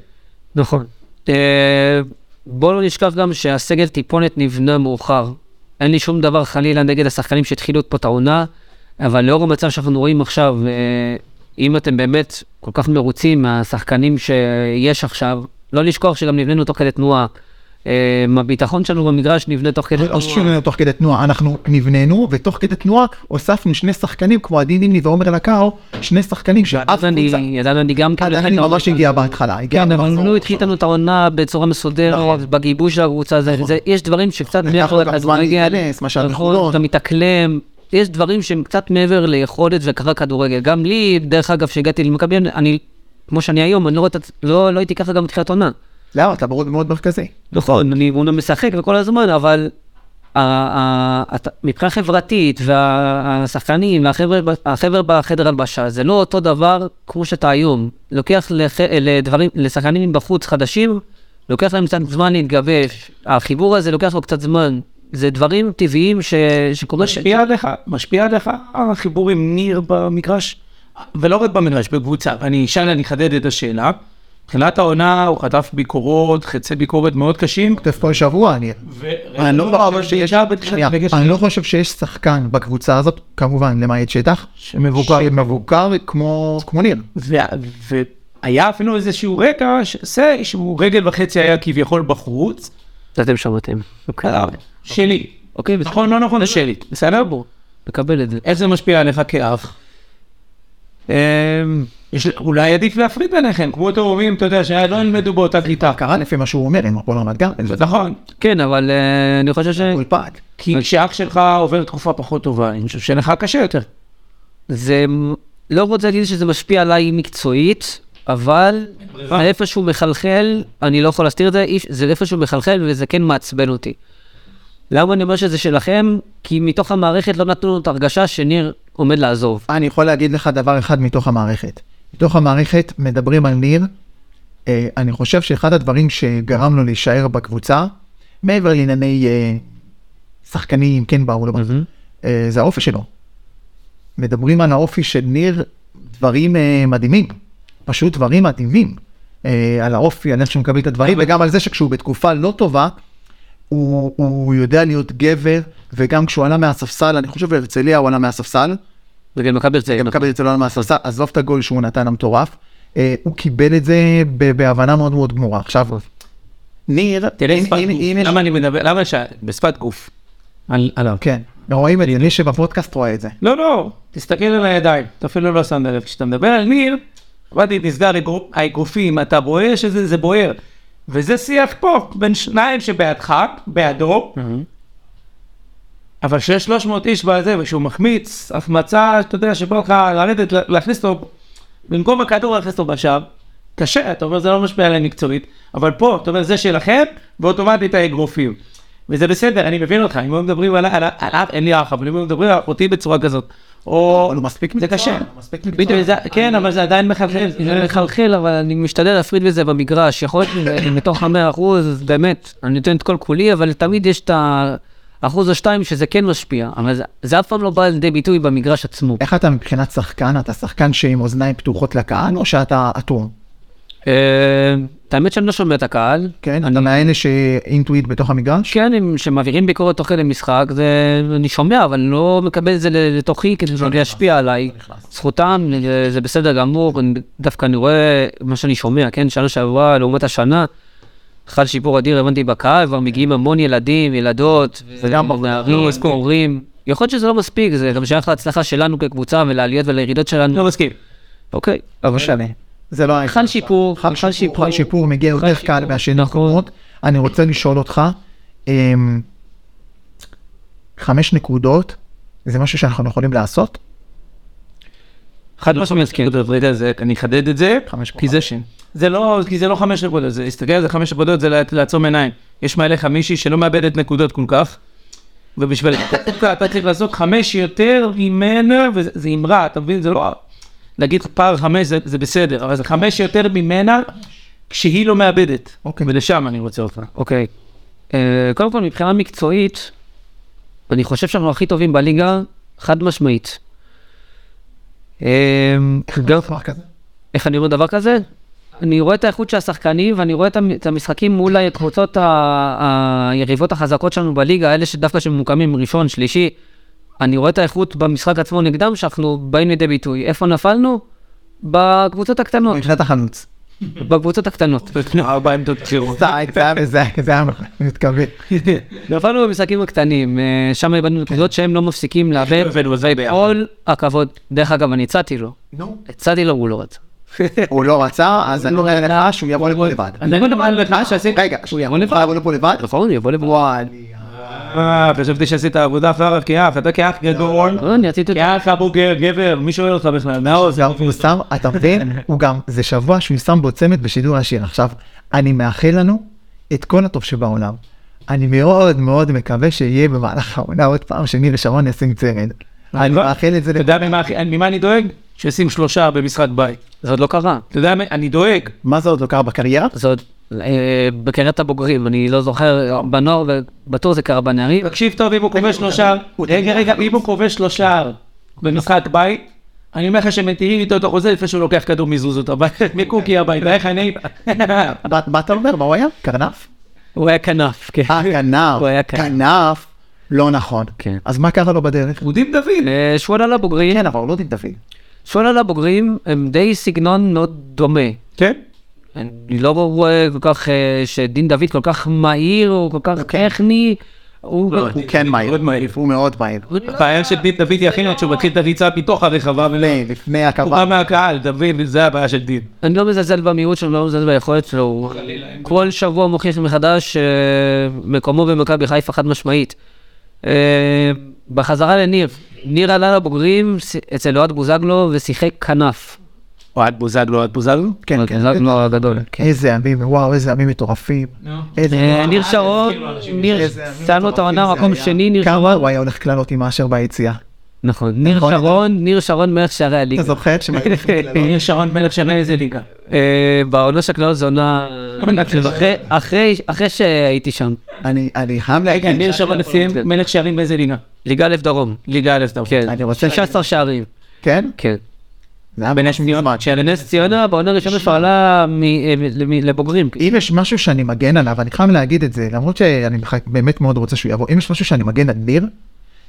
E: נכון. אה, בואו לא נשכח גם שהסגל טיפונת נבנה מאוחר. אין לי שום דבר חלילה נגד השחקנים שהתחילו פה את העונה, אבל לאור המצב שאנחנו רואים עכשיו, אה, אם אתם באמת כל כך מרוצים מהשחקנים שיש עכשיו, לא לשכוח שגם נבנינו תוך כדי תנועה. אה, הביטחון שלנו במגרש נבנה תוך כדי
D: לא
E: תנועה.
D: שינינו תוך כדי תנועה, אנחנו נבננו, ותוך כדי תנועה הוספנו שני שחקנים כמו עדי נימני ועומר לקאו, שני שחקנים שאף
E: אז אני,
D: קבוצה,
E: אז אני גם כן...
D: עדיין ממש הגיע בהתחלה, הגיע
E: כן, אבל
D: במחזור.
E: הוא התחיל איתנו את העונה בצורה מסודרת, בגיבוש של הקבוצה, זה- זה- יש דברים שקצת
D: לקח לו
E: מעבר
D: נכון. גם זמן להיכנס, מה שאנחנו
E: נכון,
D: לא-
E: אתה מתאקלם, יש דברים שהם קצת מעבר ליכולת וקרה כדורגל. גם לי, דרך אגב, שהגעתי למכבי, אני, כמו שאני היום, אני לא רואה את עצ- לא לא הייתי ככה גם בתחילת עונה.
D: למה? אתה ברור מאוד מרכזי.
E: נכון, אני אמנם משחק וכל הזמן, אבל ה- ה- הת- מבחינה חברתית והשחקנים והחבר'ה בחדר הלבשה, זה לא אותו דבר כמו שאתה היום. לוקח לח- לדברים, לשחקנים מבחוץ חדשים, לוקח להם קצת זמן להתגבש. החיבור הזה לוקח לו קצת זמן. זה דברים טבעיים ש- שקורה ש...
A: משפיע עליך, משפיע עליך החיבור עם ניר במגרש, ולא רק במגרש, בקבוצה. ואני אשאל, אני אחדד את השאלה. מבחינת העונה הוא חטף ביקורות, חצי ביקורת מאוד קשים.
D: כתב כל שבוע, אני... אני לא חושב שיש... שנייה, אני לא חושב שיש שחקן בקבוצה הזאת, כמובן, למעט שטח,
A: שמבוקר.
D: שמבוקר כמו כמו ניר.
A: ו- והיה אפילו איזשהו רקע, שזה, שהוא רגל וחצי היה כביכול בחוץ.
E: אתם שמעתם.
A: שלי.
E: אוקיי, בסדר.
A: נכון, לא נכון, זה שלי.
E: אה.
A: בסדר?
E: מקבל את זה.
A: איך זה משפיע עליך כאח? אמ, יש- אולי עדיף להפריד ביניכם, כמו תאומים, אתה יודע, שלא ילמדו באותה כיתה.
D: קרה לפי מה שהוא אומר, עם הפועל רמת גן,
A: נכון.
E: כן, אבל אה, אני חושב ש...
D: אולפת.
A: כי כשאח שלך עובר תקופה פחות טובה, אני חושב שלך קשה יותר.
E: זה, לא רוצה להגיד שזה משפיע עליי מקצועית, אבל איפשהו מחלחל, אני לא יכול להסתיר את זה, איש- זה איפשהו מחלחל וזה כן מעצבן אותי. למה אני אומר שזה שלכם? כי מתוך המערכת לא נתנו לנו את הרגשה שניר עומד לעזוב.
D: אני יכול להגיד לך דבר אחד מתוך המערכת. מתוך המערכת מדברים על ניר. אה, אני חושב שאחד הדברים שגרם לו להישאר בקבוצה, מעבר לענייני אה, שחקנים, כן באו לא באו, אה, זה האופי שלו. מדברים על האופי של ניר, דברים אה, מדהימים. פשוט דברים מדהימים. אה, על האופי, על איך שהוא מקבל את הדברים, וגם על זה שכשהוא בתקופה לא טובה, הוא, הוא יודע להיות גבר, וגם כשהוא עלה מהספסל, אני חושב בהרצליה הוא עלה מהספסל,
E: נגד מכבי הרצליה.
D: גם מכבי יצאו לנו מהספסל, עזוב את הגול שהוא נתן המטורף, אה, הוא קיבל את זה ב- בהבנה מאוד מאוד גמורה. עכשיו, ניר,
A: תראה,
D: אם-
A: שפת
D: אם-
A: גוף.
D: אם יש...
A: למה אני מדבר, למה ש... בשפת גוף. על- עליו.
D: כן, רואים את זה, מי שבפודקאסט רואה את זה.
A: לא, לא, תסתכל על הידיים, אתה אפילו לא שמת לב. כשאתה מדבר על ניר, עבדתי, נסגר אגרופ- האגרופים, אתה בוער שזה זה בוער. וזה שיח פה, בין שניים שבעדך, בעדו, אבל שיש 300 איש בזה, ושהוא מחמיץ, החמצה, אתה יודע, שבא לך לרדת, לה- להכניס אותו, במקום הכדור להכניס אותו בשער, קשה, אתה אומר, זה לא משפיע עליהם מקצועית, אבל פה, אתה אומר, זה שלכם, ואוטומטית האגרופים. וזה בסדר, אני מבין אותך, אם היו מדברים עלי- עלי- עליו, אין לי אח, אבל אם היו מדברים על אותי בצורה כזאת, או...
D: אבל הוא מספיק
A: זה
D: מקצוען, לא
A: קשה.
D: הוא מספיק
A: בדיוק, זה- כן, אבל זה עדיין מחלחל.
E: זה מחלחל, אבל אני משתדל להפריד בזה במגרש. יכול להיות מתוך המאה אחוז, אז באמת, אני נותן את כל כולי, אבל תמיד יש את האחוז או שתיים שזה כן משפיע, אבל זה, זה אף פעם לא בא לידי ביטוי במגרש עצמו.
D: איך אתה מבחינת שחקן? אתה שחקן שעם אוזניים פתוחות לקהל, או שאתה אטום?
E: אה, את האמת שאני לא שומע את הקהל.
D: כן, אתה מאלה שאינטואיט בתוך המגרש?
E: כן, הם- שמעבירים ביקורת תוך כדי משחק, זה, אני שומע, אבל אני לא מקבל את זה ל- לתוכי כדי שזה ישפיע עליי. זכותם, אה, זה בסדר גמור, אני- דווקא אני רואה מה שאני שומע, כן, שנה שעברה לעומת השנה, חל שיפור אדיר, הבנתי, בקהל, כבר מגיעים המון ילדים, ילדות, נערים, הורים. יכול להיות שזה לא מספיק, זה גם שייך להצלחה שלנו כקבוצה ולעליות ולירידות שלנו.
A: לא מסכים.
E: אוקיי.
D: לא משנה. זה לא היה...
E: חל שיפור,
D: חל שיפור, חל שיפור מגיע יותר קל מהשני
E: נכון.
D: קומות. אני רוצה לשאול אותך, אמ, חמש נקודות, זה משהו שאנחנו יכולים לעשות?
E: חד משמעית, כן.
A: רגע, זה- אני אחדד את זה,
D: חמש
A: כי זה, זה לא, כי זה לא חמש נקודות, זה להסתכל על זה חמש נקודות זה לע- לעצום עיניים. יש מעליך מישהי שלא מאבדת נקודות כל כך, ובשביל דווקא אתה צריך לעשות חמש יותר ממנה, וזה אמרה, אתה מבין? זה לא... להגיד פער חמש זה, זה בסדר, אבל זה חמש יותר ממנה כשהיא לא מאבדת.
D: אוקיי.
A: ולשם אני רוצה אותך.
E: אוקיי. אה, קודם כל, מבחינה מקצועית, אני חושב שאנחנו הכי טובים בליגה, חד משמעית. אה, גם-
D: מסמך כזה?
E: איך אני אומר דבר כזה? אני רואה את האיכות של השחקנים, ואני רואה את המ- את המשחקים מול הקבוצות ה- היריבות החזקות שלנו בליגה, אלה שדווקא שממוקמים ראשון, שלישי. אני רואה את האיכות במשחק עצמו נגדם, שאנחנו באים לידי ביטוי. איפה נפלנו? בקבוצות הקטנות.
D: מבחינת החלוץ.
E: בקבוצות הקטנות.
A: אוקיי. ארבע עמדות בחירות.
D: זה היה- זה היה- זה היה- זה היה מתכוון.
E: נפלנו במשחקים הקטנים, אה, שם איבדנו נקודות שהם לא מפסיקים לאבד. כל הכבוד. דרך אגב, אני הצעתי לו.
D: נו.
E: הצעתי לו, הוא לא רצה.
D: הוא לא רצה, אז אני אומר לך שהוא יבוא לפה לבד.
A: אני לא מדבר לך שעשית...
D: רגע, שהוא יבוא לבד? יבוא לפה לבד?
E: נכון, יבוא לבוא.
D: וואי.
A: אה, חשבתי שעשית עבודה פרה כאח, אתה כאח גדול.
E: לא, אני רציתי
D: כן.
E: אותו.
A: כאח הבוגר, גבר, מי שואל אותך בכלל? מהעוז.
D: זה הוא שם, אתה מבין? הוא גם, זה שבוע שהוא שם בו צמד בשידור השיר. עכשיו, אני מאחל לנו את כל הטוב שבעולם. אני מאוד מאוד מקווה שיהיה במהלך העונה עוד פעם שניר שרון ישים צרד.
E: נכון.
D: אני מאחל את זה
A: אתה
D: ל...
A: יודע ממה הכי- ממה אני דואג? שישים שלושה במשחק בית.
E: זה עוד לא קרה.
A: אתה יודע, מה- אני דואג.
D: מה זה עוד לא קרה בקריירה?
E: זה עוד אה, בקריירת הבוגרים, אני לא זוכר, בנוער ובטור זה קרה בנערים.
A: תקשיב טוב, אם הוא כובש שלושה, רגע, רגע, אם הוא כובש שלושה במשחק בית, אני אומר לך שמטילים איתו את החוזה לפני שהוא לוקח כדור מזוזות הביתה, מקוקי הביתה, איך אני...
D: מה מה אתה אומר? מה הוא היה? קרנף?
E: הוא היה כנף, כן.
D: אה, כנף.
E: הוא היה כנף.
D: כנף. לא נכון.
E: כן.
D: אז מה קרה לו בדרך?
A: הוא דין דוד.
E: אה, שהוא עלה לבוגרים,
D: כן, אבל הוא לא דין דוד.
E: שהוא עלה לבוגרים, הם די סגנון מאוד דומה.
A: כן.
E: אני לא רואה כל כך אה, שדין דוד כל כך מהיר, הוא כל כך
D: אוקיי.
E: טכני. הוא
D: הוא כן מהיר.
A: מאוד מהיר.
D: הוא מאוד מהיר.
E: לא
A: הבעיה של דין דוד היא הכי נראית שהוא מתחיל את הריצה מתוך הרחבה
D: לפני,
A: ולפני.
D: לפני
A: הוא בא
D: הקרבה.
A: מהקהל, אתה מבין? זה הבעיה של דין.
E: אני לא מזלזל במהירות שלו, לא מזלזל ביכולת שלו, הוא כל שבוע מוכיח מחדש אה, מקומו במכבי חיפה חד משמעית. אה, בחזרה לניר, ניר עלה לבוגרים ש- אצל אוהד בוזגלו ושיחק כנף.
A: אוהד בוזגלו, אוהד בוזגלו?
E: לא,
D: כן, כן.
E: בוזגלו הגדול. כן.
D: איזה עמים, וואו, איזה עמים מטורפים. איזה...
E: אה, ניר שרון, ניר,
D: איזה עמים
E: צענו את העונה
D: מטורפים זה
E: מקום
D: היה.
E: שני, ניר
D: כמה
E: שרון.
D: הוא היה הולך קללות עם אשר ביציאה.
E: נכון, ניר
D: נכון.
E: שרון, ניר שרון מלך שערי
D: אתה
E: הליגה.
D: זוכר? שהם היו הולכים קללות?
A: ניר שרון מלך שנה איזה ליגה.
E: אה, בעונה של קללות זו עונה... אחרי- אחרי- אחרי שהייתי שם.
D: אני- אני חייב
A: רגע,
D: להגיד,
A: ניר שרון לפיהם מלך שערים באיזה ליגה?
E: ליגה א' דרום.
A: ליגה א' דרום.
E: כן.
D: אני רוצה...
E: 16 שערים.
D: כן?
E: כן.
D: זה היה
A: בן השניות,
D: מזמן.
E: נס ציונה בעונה הראשונה כבר עלה מ- אה, מ- למ- לבוגרים.
D: אם יש משהו שאני מגן עליו, אני חייב להגיד את זה, למרות שאני בח- באמת מאוד רוצה שהוא יבוא, אם יש משהו שאני מגן על ניר,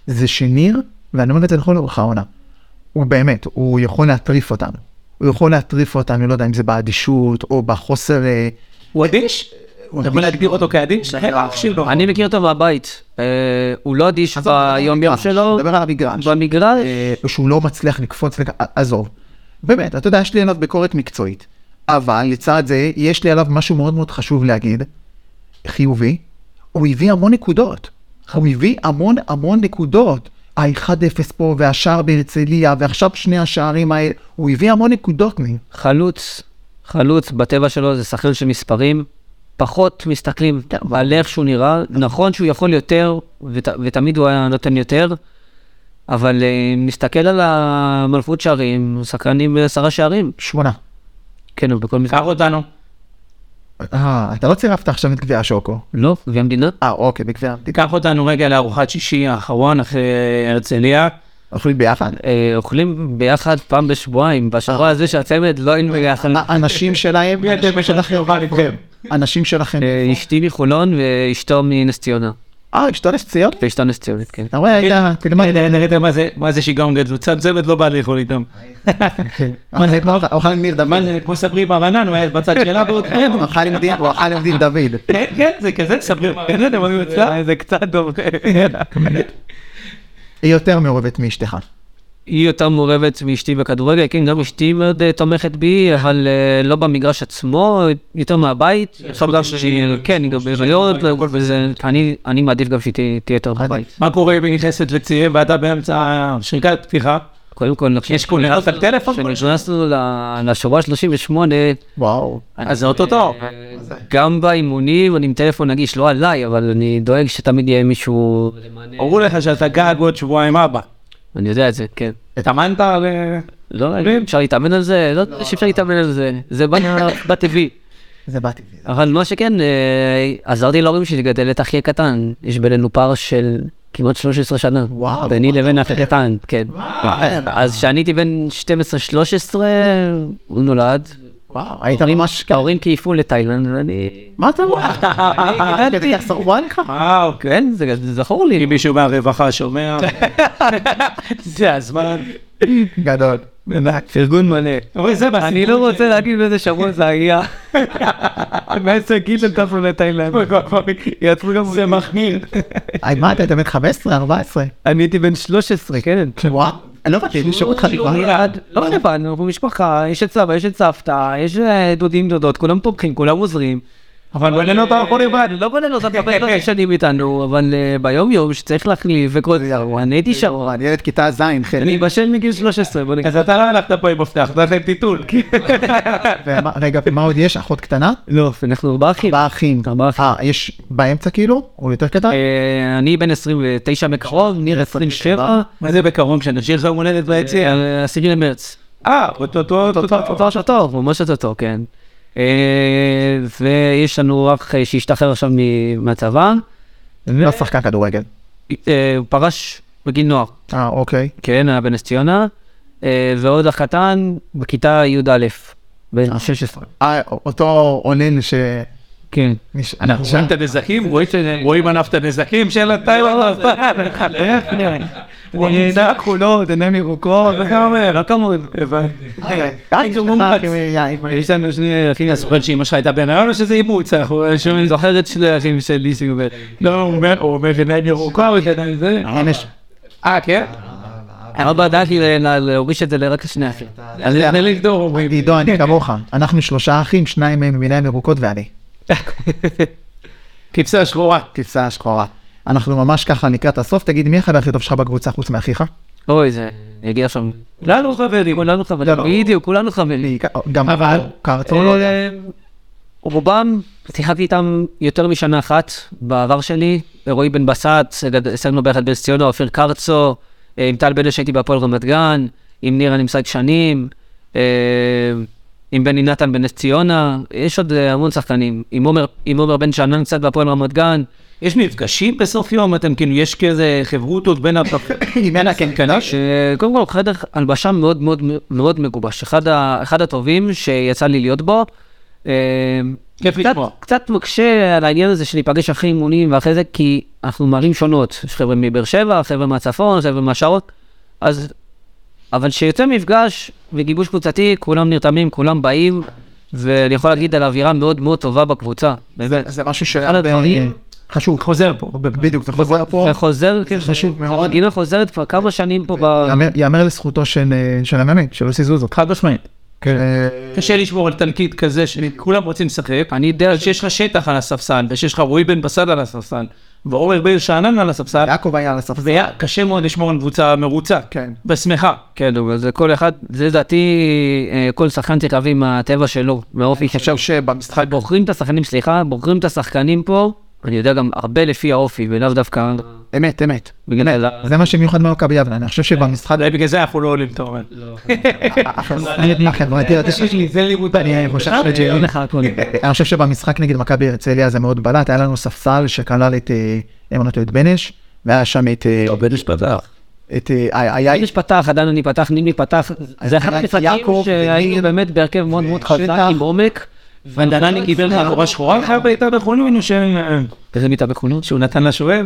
D: זה שניר, ואני אומר את זה לכל אורך העונה, הוא באמת, הוא יכול להטריף אותנו. הוא יכול להטריף אותנו, לא יודע אם זה באדישות או בחוסר... אה,
A: הוא אדיש?
D: הוא
A: אתה יכול
D: אדיש.
A: להגדיר אותו כן, כאדיש? אח
D: נכון.
A: שלו.
E: אני מכיר אותו מהבית. אה, הוא לא אדיש ביום יום שלו.
D: דבר על המגרש.
E: במגרש.
D: אה, שהוא לא מצליח לקפוץ, לק- עזוב. באמת, אתה יודע, יש לי עליו ביקורת מקצועית. אבל לצד זה, יש לי עליו משהו מאוד מאוד חשוב להגיד, חיובי, הוא הביא המון נקודות. הוא הביא המון המון נקודות. ה-1-0 פה, והשער בהרצליה, ועכשיו שני השערים האלה, הוא הביא המון נקודות מי.
E: חלוץ, חלוץ בטבע שלו זה שחקן של מספרים, פחות מסתכלים על איך שהוא נראה, נכון שהוא יכול יותר, ות, ותמיד הוא היה נותן יותר, אבל אה, מסתכל על המלכות שערים, הוא שחקן עם עשרה שערים,
D: שמונה.
E: כן, הוא בכל
A: קח
E: מספר.
A: אותנו.
D: אה, אתה לא צירפת עכשיו את גביע השוקו.
E: לא, והמדינה?
D: אה, אוקיי, בגביע המדינה.
A: קח אותנו רגע לארוחת שישי האחרון אחרי הרצליה.
D: אוכלים ביחד.
E: אה, אוכלים ביחד פעם בשבועיים,
A: אה.
E: בשבוע הזה של הצמד לא היינו ביחד.
D: האנשים שלהם,
A: אתם שלכם יובל איתכם?
D: אנשים שלכם.
E: אה, אשתי מחולון ואשתו מנס ציונה,
D: אה, אשתו נס ציון?
E: ואשתו נס ציונית, כן.
D: אתה רואה, הייתה, תלמד.
A: נראית מה זה, מה זה שיגעון גדול, צמצמת לא בא לאכול איתם.
D: מה זה כבר? כן. אוכל עם ניר דוד.
A: מה זה, כמו ספרי ברנן, הוא היה בצד שלה ועוד חיים.
D: אוכל עם דין, הוא אכל עם דין דוד.
A: כן, כן, זה כזה, ספרי ברנן, הם היו כן,
E: אה,
A: אצלה. זה קצת דומה.
D: היא יותר מעורבת מאשתך.
E: היא יותר מעורבת מאשתי בכדורגל, כן, גם אשתי מאוד אה, תומכת בי, אבל אה, לא במגרש עצמו, יותר מהבית. עכשיו גם שהיא, כן, היא גם בהיריון, והכל וזה, אני- אני מעדיף גם שהיא תהיה תהיה
A: אה,
D: נכון.
E: יותר בבית.
A: מה קורה אם היא נכנסת לצעיר ואתה באמצע שריקת פתיחה?
E: קודם כל, עכשיו-
A: יש קולנות על טלפון?
E: כשנכנסנו ל- לשורה 38,
D: וואו.
A: אז זה אוטוטו.
E: גם באימונים, אני עם טלפון נגיש, לא עליי, אבל אני דואג שתמיד יהיה מישהו...
A: אמרו לך שאתה גג עוד שבועיים אבא.
E: אני יודע את זה, כן.
A: התאמנת על...
E: לא, אפשר להתאמן על זה? לא, שאפשר להתאמן על זה. זה בא- בטבעי.
D: זה באתי. בלי זה.
E: אבל מה שכן, אה, עזרתי להורים שלי לגדל את אחי הקטן. יש בינינו פער של כמעט 13 שנה.
D: וואו.
E: ביני לבין אחי הקטן, כן. אז כשאני הייתי בן 12-13, הוא נולד.
D: וואו, היית ממש...
E: ההורים קייפו לתאילנד, ואני...
D: מה אתה אומר? אני גדלתי סרבן לך?
A: וואו,
E: כן, זה זה זכור לי.
A: אם מישהו מהרווחה שומע, זה הזמן.
D: גדול.
A: ארגון מלא. אוי, זה בסיפור.
E: אני לא רוצה להגיד באיזה שבוע זה היה. באיזה גיל הם טסו לתאילנד.
A: יעצרו גם... זה מחמיר.
D: היי, אה, מה אתה, אתה בן 15? 14?
E: אני הייתי בן 13, כן.
D: וואו. אני לא באתי לשאול אותך כבר.
E: נולד, לא לבד, אנחנו משפחה, יש את סבא, יש את סבתא, יש אה, דודים, דודות, כולם תומכים, כולם עוזרים.
A: אבל בלילות אתה יכול לבד.
E: לא בונה אותם הרבה לא שנים איתנו, אבל אה, ביום יום שצריך להחליף וכל זה, אני הייתי שרון.
D: אני ילד כיתה ז', כן. חלק.
E: אני מבשל מגיל 13, בוא נגיד.
A: אז אתה לא הלכת פה עם מפתח, נתת להם טיטול.
D: ומה- רגע, ומה עוד יש? אחות קטנה?
E: לא, אנחנו ארבעה אחים.
D: ארבעה אחים.
E: ארבעה אחים.
D: אה, יש באמצע כאילו? הוא יותר קטן?
E: אה, אני בן 29 מקרוב, ניר 27,
A: מה זה בקרוב, שנשאיר לך יום הולדת ביציע?
E: אה, עשירי למרץ.
A: אה, אותו...
E: תואר של טוב, ממש אותו טוב, כן. אה, ויש לנו אח אה, שהשתחרר עכשיו מ- מהצבא,
D: לא שחקן כדורגל.
E: אה, הוא פרש בגיל נוער.
D: אה, אוקיי.
E: כן, היה בנס ציונה, אה, ועוד אח קטן בכיתה י"א, בן 16.
D: אה, אותו אונן ש...
E: כן.
A: אנחנו רואים את הנזקים, רואים- רואים ענף את הנזקים של הטיילר. הוא נהנה כחולות, עיניים ירוקות, וכמה אומר, לא כמוהם.
D: די,
A: מומלץ.
D: יש
A: יש לנו שני אחים, אז זוכר שאמא שלך הייתה בהיריון או שזה אימוץ? אנחנו שומעים, זוכר את שני האחים שלי שהוא לא, הוא אומר- הוא אומר עיניים ירוקות, עיניים זה. אה, כן?
E: אבא דאגתי ל- ל- להוריש את זה לרק לשני אחים.
A: אז לפני לגדור אומרים.
D: עידו, אני כמוך, אנחנו שלושה אחים, שניים מהם עם עיניים ירוקות ואני.
A: כבשה שחורה.
D: כבשה שחורה. אנחנו ממש ככה לקראת הסוף, תגיד מי החבר הכי טוב שלך בקבוצה חוץ מאחיך?
E: אוי, זה... אני אגיד עכשיו...
A: אה, כולנו חברים.
E: כולנו חברים.
D: לא, לא.
E: בדיוק, כולנו חברים.
D: גם
A: אבל-
D: קרצון לא
A: אה,
D: יודע.
E: רובם, שיחקתי איתם יותר משנה אחת בעבר שלי, רועי בן בסט, סגנו ביחד בנס ציונה, אופיר קרצו, אה, עם טל בנש הייתי בהפועל רמת גן, עם ניר אני משחק שנים, אה, עם בני נתן בנס ציונה, יש עוד אה, המון שחקנים, עם עומר- עם עומר בן שאנן קצת בהפועל רמת גן,
A: יש מפגשים בסוף יום, אתם כאילו, יש כזה חברותות בין
D: ממנה כן קנש.
E: שקודם כל חדר הלבשה מאוד מאוד מאוד מגובש, אחד, ה, אחד הטובים שיצא לי להיות בו. אה,
A: כיף
E: קצת,
A: לשמוע.
E: קצת מקשה על העניין הזה של להיפגש אחרי אימונים ואחרי זה, כי אנחנו מערים שונות, יש חבר'ה מבאר שבע, חבר'ה מהצפון, חבר'ה מהשעות, אז... אבל כשיוצא מפגש וגיבוש קבוצתי, כולם נרתמים, כולם באים, ואני יכול להגיד על אווירה מאוד מאוד טובה בקבוצה. באמת.
D: זה משהו ש...
E: אחד הדברים-
D: חשוב.
A: חוזר פה.
D: בדיוק, זה חוזר פה.
E: וחוזר, כן,
D: חשוב מאוד.
E: הנה חוזרת כבר כמה שנים פה ב...
D: יאמר- יאמר לזכותו של אה, של המאמן, של יוסי זוזו.
A: חד משמעית.
D: אה,
A: קשה לשמור על תלקיד כזה שכולם רוצים לשחק.
E: אני יודע
A: אבל שיש לך שטח על הספסל, ושיש לך רועי בן בסד על הספסל, ועומר בן שאנן על הספסל,
D: יעקב היה על הספסל.
A: זה היה קשה מאוד לשמור על קבוצה מרוצה.
D: כן.
A: ושמחה.
E: כן, אבל זה כל אחד, זה לדעתי, אה, כל שחקן צריך להביא מהטבע שלו, מהאופי
A: כן,
D: עכשיו
E: שלו.
D: שבמשחק
E: בוחרים את השחקנים, סליחה, בוחרים את השחקנים פה, אני יודע גם הרבה לפי האופי, ולאו דווקא
D: אמת, אמת.
E: בגלל...
D: זה מה שמיוחד ממכבי יבנה, אני חושב שבמשחק...
A: אולי בגלל זה אנחנו לא עולים אתה אומר.
D: החברתי הזה
A: יש לי, זה לימוד.
D: אני חושב
E: אה, אין
D: שג'יון
E: לך הכל.
D: אני חושב שבמשחק נגד מכבי הרצליה זה מאוד בלט, היה לנו ספסל שכלל את, אה, אם אני לא טועה, את בנש, והיה שם את... אה,
G: עובדש פתח.
D: את... אה, היה- היה...
E: איש פתח, עדיין אני פתח, נימני פתח, זה אחד
D: היה
E: המשחקים
D: יעקב,
E: שהיינו
D: וניר,
E: באמת בהרכב מאוד מאוד חזק,
D: ושטח.
E: עם עומק.
A: ונדנני קיבל לך חורה שחורה, חייב הייתה בחולנו ממנו ש...
E: איזה מיטה בחולון?
A: אה, שהוא נתן לשוער.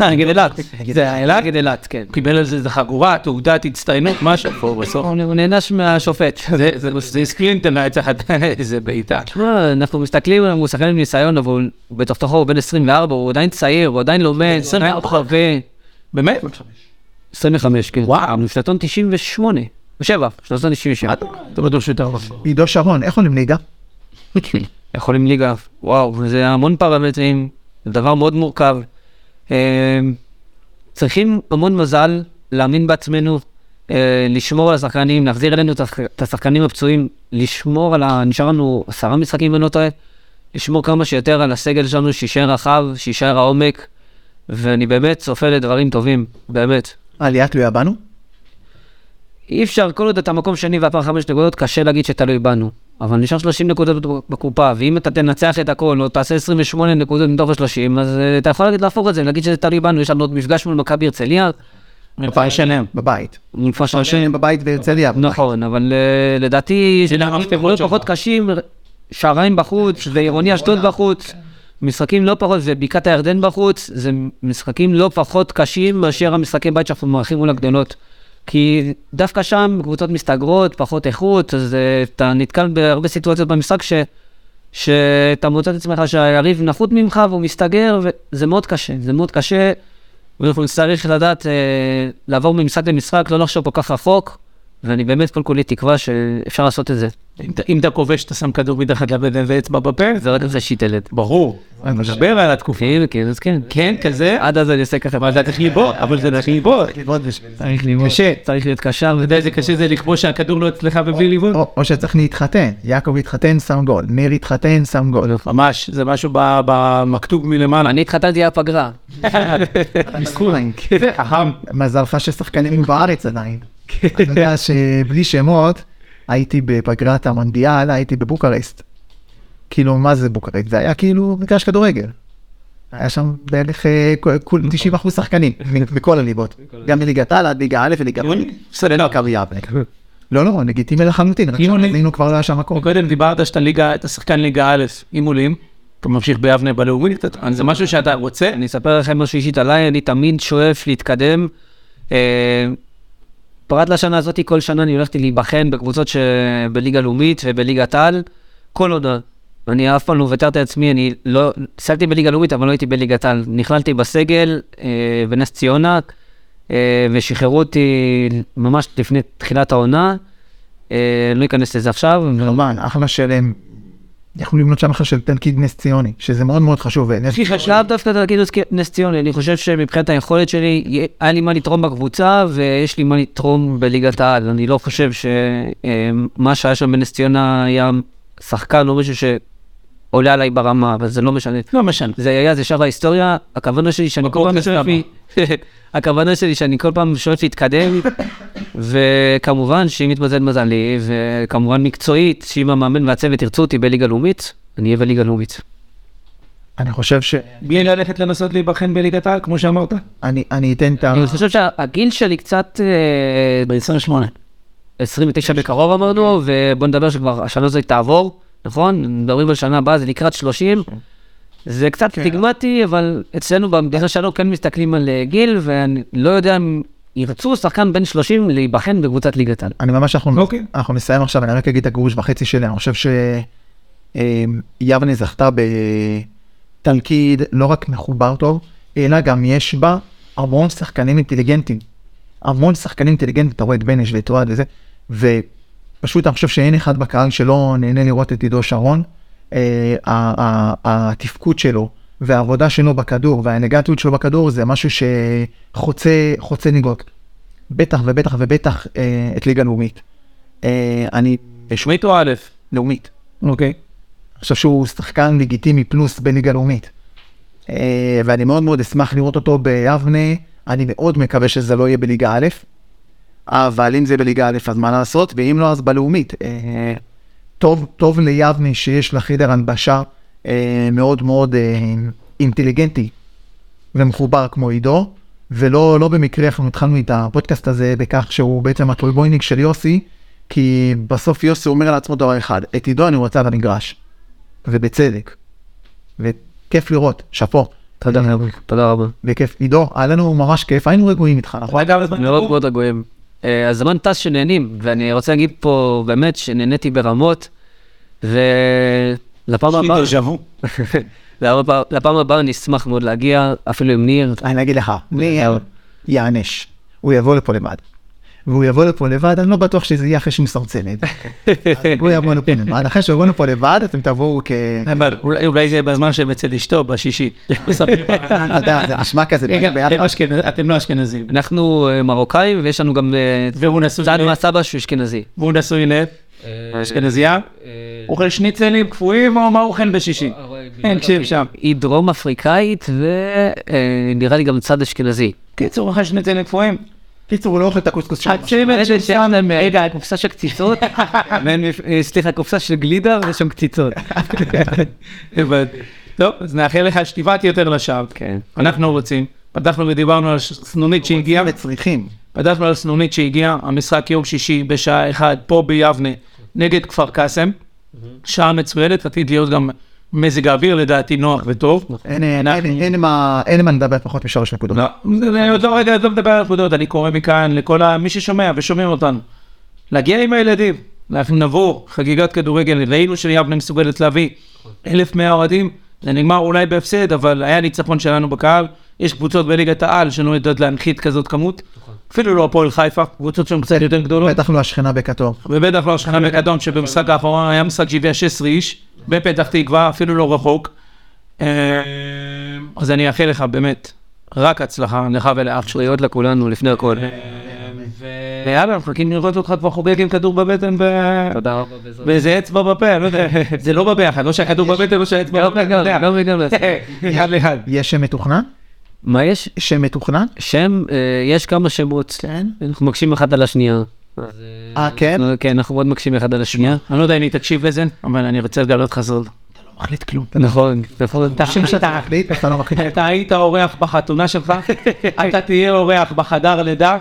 A: נגד אילת. זה היה אילת.
E: נגד אילת, כן.
A: הוא קיבל על זה איזה חגורה, תעודת הצטיינות, משהו פה בסוף.
E: הוא נענש מהשופט.
A: זה- זה- זה סקרינטון היה צריך לתת איזה בעיטה.
E: תשמע, אנחנו מסתכלים עליו, הוא שחקן עם ניסיון, אבל הוא בתוך תוכו הוא בן 24, הוא עדיין צעיר, הוא עדיין לומד, כן, הוא עדיין חווה.
A: באמת?
E: 25, כן.
A: וואו.
E: הוא שנתון 98. שבע, שנתון 97.
A: אתה בטוח שאתה עובר.
D: עידו שרון, איך עולים ליגה?
E: יכולים ליגה, וואו, זה המון פרמטרים, זה דבר מאוד מורכב. אה, צריכים המון מזל, להאמין בעצמנו, אה, לשמור על השחקנים, להחזיר אלינו את השח- את השחקנים הפצועים, לשמור על ה... נשאר לנו עשרה משחקים, אם אני לא טועה, לשמור כמה שיותר על הסגל שלנו, שיישאר רחב, שיישאר העומק, ואני באמת צופה לדברים טובים, באמת.
D: העלייה תלויה בנו?
E: אי אפשר, כל עוד אתה מקום שני והפער חמש נקודות, קשה להגיד שתלוי בנו. אבל נשאר 30 נקודות בקופה, ואם אתה תנצח את הכל, או תעשה 28 נקודות מתוך ה-30, אז אה, אתה יכול להגיד להפוך את זה, להגיד שזה תלוי בנו, יש לנו עוד מפגש מול מכבי הרצליה,
A: מפעל שלם.
D: בבית.
E: מול כפר שלם.
D: שהם בבית בהרצליה.
E: נכון, אבל אה, לדעתי, יש
A: הנה המפתחות
E: דברים
A: שלך.
E: פחות קשים, שעריים בחוץ, ועירוני אשדוד בחוץ,
A: כן.
E: משחקים לא פחות, ובקעת הירדן בחוץ, זה משחקים לא פחות קשים מאשר המשחקי בית שאנחנו מארחים מול הגדולות. כי דווקא שם קבוצות מסתגרות, פחות איכות, אז אה, אתה נתקל בהרבה סיטואציות במשחק ש... שאתה מוצא את עצמך שהיריב נחות ממך והוא מסתגר, וזה מאוד קשה, זה מאוד קשה. ואנחנו נצטרך לדעת אה, לעבור ממשחק למשחק, לא לחשוב כל כך רחוק, ואני באמת כל כולי תקווה שאפשר לעשות את זה.
A: אם אתה- אם אתה כובש, אתה שם כדור מתחת לבטן ואצבע בפה, זה
E: זה רק איזה שיט ילד.
A: ברור. אני מדבר על התקופה.
E: כן, כן, אז כן.
A: כן, כזה,
E: עד אז אני אעשה ככה,
A: אבל אתה צריך לבעוט, אבל זה צריך לבעוט.
D: צריך ללמוד.
A: קשה. אתה
E: כן. צריך להיות קשר.
A: יודע איזה קשה זה לכבוש שהכדור לא אצלך ובלי ליוון?
D: או או שצריך להתחתן, יעקב התחתן, שם גול, ניר התחתן, שם גול.
A: ממש, זה משהו ב- במכתוב מלמעלה.
E: אני התחתנתי על הפגרה.
A: כן, חכם.
D: מזלך ששחקנים היו בארץ עדיין. אתה יודע שבלי שמות, הייתי בפגרת המונדיאל, הייתי בבוקרשט. כאילו, מה זה בוקרשט? זה היה כאילו מגרש כדורגל. היה שם בערך אה, כול- כול- 90% שחקנים, מ- מכל הליגות. גם מליגת העל עד ליגה א' וליגה ב'.
A: סלנוק.
D: מכבי יבנה. לא, לא, לגיטימי לחלוטין, רק
A: יוני.
D: שעלינו כבר לא היה שם מקום.
A: קודם דיברת שאתה ליגה, אתה שחקן ליגה א' עם עולים, אתה ממשיך ביבנה בלאומית, אתה- זה משהו שאתה רוצה?
E: אני אספר לכם משהו אישית עליי, אני תמיד שואף להתקדם. אה, פרט לשנה הזאת, כל שנה אני הולכתי להיבחן בקבוצות שבליגה לאומית ובליגת על, כל עונה. אני אף פעם לא ויתרתי על עצמי, אני לא, הפסקתי בליגה לאומית, אבל לא הייתי בליגת על. נכללתי בסגל אה, בנס ציונה, אה, ושחררו אותי ממש לפני תחילת העונה. אה, לא אכנס לזה עכשיו,
D: כמובן, אחלה שלם. יכלו לבנות שם עכשיו של תלכיד נס ציוני, שזה מאוד מאוד חשוב. ונס-
A: הכי חשוב.
E: לאו דווקא תגיד "אוקיי, נס ציוני, אני חושב שמבחינת היכולת שלי, היה לי מה לתרום בקבוצה, ויש לי מה לתרום בליגת העל. אני לא חושב שמה שהיה שם בנס ציונה היה שחקן או מישהו שעולה עליי ברמה, אבל זה לא משנה.
A: לא משנה.
E: זה היה, זה שאר ההיסטוריה, הכוונה שלי שאני כל פעם
A: בפודקאסט
E: שואף לי, הכוונה שלי שאני כל פעם שואף להתקדם, וכמובן שאם יתמזל מזלי, וכמובן מקצועית, שאם המאמן והצוות ירצו אותי בליגה לאומית, אני אהיה בליגה לאומית.
D: אני חושב ש...
A: בלי ללכת לנסות להיבחן בליגת העל, כמו שאמרת.
D: אני אני אתן את ה...
E: אני חושב שהגיל שלי קצת אה,
A: ב-28.
E: 29 בקרוב אמרנו, ובוא נדבר שכבר השנה הזאת תעבור, נכון? מדברים על שנה הבאה, זה לקראת 30. זה קצת סטיגמטי, אבל אצלנו במדינה שלנו כן מסתכלים על אה, גיל, ואני לא יודע אם ירצו שחקן בן 30 להיבחן בקבוצת ליגת העל.
D: אני ממש, אנחנו,
A: אוקיי.
D: אנחנו נסיים עכשיו, אני רק אגיד את הגרוש וחצי שלי, אני חושב שיבנה זכתה בתלכיד לא רק מחובר טוב, אלא גם יש בה המון שחקנים אינטליגנטים. המון שחקנים אינטליגנטים, אתה רואה את בניש ואת אוהד וזה, ופשוט אני חושב שאין אחד בקהל שלא נהנה לראות את עידו שרון. אה, ה- ה- התפקוד שלו והעבודה שלו בכדור והאלגנטיות שלו בכדור זה משהו שחוצה חוצה ניגות. בטח ובטח ובטח אה, את ליגה לאומית. אה, אני
A: שמית או א'?
D: לאומית.
A: אוקיי.
D: אני חושב שהוא שחקן לגיטימי פלוס בליגה לאומית. אה, ואני מאוד מאוד אשמח לראות אותו ביבנה, אני מאוד מקווה שזה לא יהיה בליגה א', אבל אם זה בליגה א', אז מה לעשות, ואם לא, אז בלאומית. אה, טוב, טוב ליבנה שיש לה חדר הנבשה אה, מאוד מאוד אה, אינטליגנטי ומחובר כמו עידו, ולא לא במקרה אנחנו התחלנו את הפודקאסט הזה בכך שהוא בעצם הטרובויניק של יוסי, כי בסוף יוסי אומר לעצמו דבר אחד, את עידו אני רוצה על המגרש, ובצדק, וכיף לראות, שאפו. אה,
E: תודה רבה. תודה רבה.
D: וכיף, עידו, היה לנו ממש כיף, היינו רגועים איתך, נכון?
A: אולי גם הזמן
E: מאוד
A: דיבור.
E: מאוד רגועים. אה, הזמן טס שנהנים, ואני רוצה להגיד פה באמת שנהניתי ברמות, ולפעם
A: יש לי
E: הבאה...
A: דז'ה וו.
E: לפעם- לפעם הבאה אני אשמח מאוד להגיע, אפילו עם ניר,
D: אני אגיד לך, ניר אה, יענש, הוא יבוא לפה לבד. והוא יבוא לפה לבד, אני לא בטוח שזה יהיה אחרי שהוא מסרצנת. הוא יבוא לפה לבד, אחרי שהוא יבוא לפה לבד, אתם תבואו כ...
A: אבל אולי- אולי זה בזמן שהם אצל אשתו, בשישי. מספרים לה.
D: אתה יודע, אה, זה נשמע כזה,
A: רגע,
D: ביחד.
A: אתם אשכנ- אתם לא אשכנזים.
E: אנחנו אה, מרוקאים, ויש לנו גם אה,
A: והוא נשוי
E: צד
A: ל-
E: מהסבא שהוא אשכנזי.
A: והוא נשוי ל... אשכנזייה? אוכל שניצלים קפואים או מה אוכל בשישי?
E: אה.
A: אין, תקשיב שם.
E: אוקיי. היא דרום אפריקאית, ונראה לי גם צד אשכנזי.
A: קיצור, אוכל שניצלים קפואים.
D: קיצור, הוא לא אוכל את הקוסקוס
E: אה.
D: שלו.
A: הצוות של שם... רגע,
E: קופסה של קציצות, אה, סליחה, קופסה של גלידה ויש שם קציצות.
A: הבנתי. טוב, אז נאחל לך שתבעט יותר לשווא.
E: כן.
A: אנחנו רוצים. פתחנו ודיברנו על ש- סנונית שהגיעה.
D: וצריכים.
A: פתחנו על סנונית שהגיעה, המשחק יום שישי בשעה 1 פה ביבנה נגד כפר קאסם. שעה מצוינת, עתיד להיות גם מזג האוויר לדעתי נוח וטוב.
D: אין- אין-
A: אנחנו-
D: אין- אין מה- אין מה לדבר פחות משלוש נקודות.
A: לא, אני עוד לא רגע, עוד לא מדבר על נקודות, אני קורא מכאן לכל ה- מי ששומע ושומעים אותנו. להגיע עם הילדים, אנחנו נבור, חגיגת כדורגל, ראינו שיבנה מסוגלת להביא 1,100 אוהדים, זה נגמר אולי בהפסד, אבל היה ניצחון שלנו בקהל. יש קבוצות בליגת העל שלא יודעות להנחית כזאת כמות, אפילו לא הפועל חיפה, קבוצות שהן קצת יותר גדולות.
D: בטח לא השכנה בכתום.
A: ובטח לא השכנה מקדום, שבמשחק האחרון היה משחק שהביאה 16 איש, בפתח תקווה, אפילו לא רחוק. אה, אז אני אאחל לך באמת רק הצלחה, לך ולאח שלי.
E: בריאות לכולנו לפני הכל.
A: ויאללה, אנחנו מחכים לראות אותך כבר חוגג עם כדור בבטן ו...
E: תודה רבה בעזרת.
A: ואיזה אצבע בפה, לא יודע, זה לא בביחד, לא שהכדור בבטן, לא שהאצבע בבטן, לא יודע.
E: גם וגם לעשות.
A: יד ליד.
D: יש שם מתוכנן?
E: מה יש?
D: שם מתוכנן?
E: שם, אה, יש כמה שמות.
D: כן.
E: אנחנו מקשים אחד על השנייה.
D: אה, כן?
E: אנחנו- כן, אנחנו מאוד מקשים אחד על השנייה.
A: אני לא יודע אם היא תקשיב לזה, אבל אני רוצה לגלות לך זאת. אתה לא מחליט כלום.
E: נכון, נכון.
A: שאתה
D: מחליט, אתה לא מחליט.
A: אתה היית אורח בחתונה שלך, אתה תהיה אורח בחדר לידה,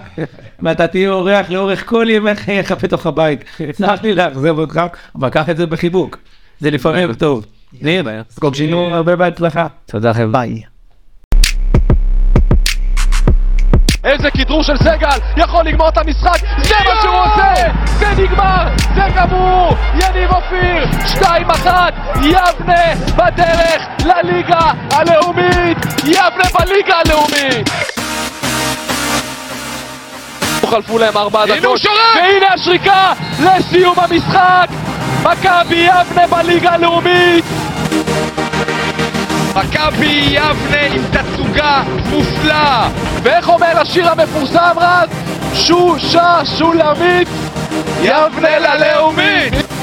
A: ואתה תהיה אורח לאורך כל ימי חייך בתוך הבית. סלח לי לאכזב אותך, אבל קח את זה בחיבוק. זה לפעמים טוב. נהיה בעיה. אז קוג'ינו הרבה בהצלחה.
E: תודה לכם.
D: ביי.
B: איזה כדרור של סגל, יכול לגמור את המשחק, זה מה שהוא עושה! זה נגמר, זה גמור! יניב אופיר, 2-1, יבנה בדרך לליגה הלאומית! יבנה בליגה הלאומית! חלפו להם ארבע דקות,
C: הוא שורק!
B: והנה השריקה לסיום המשחק! מכבי יבנה בליגה הלאומית!
C: מכבי יבנה עם תצוגה מופלאה!
B: ואיך אומר השיר המפורסם רז? שושה שולמית יבנה ללאומית!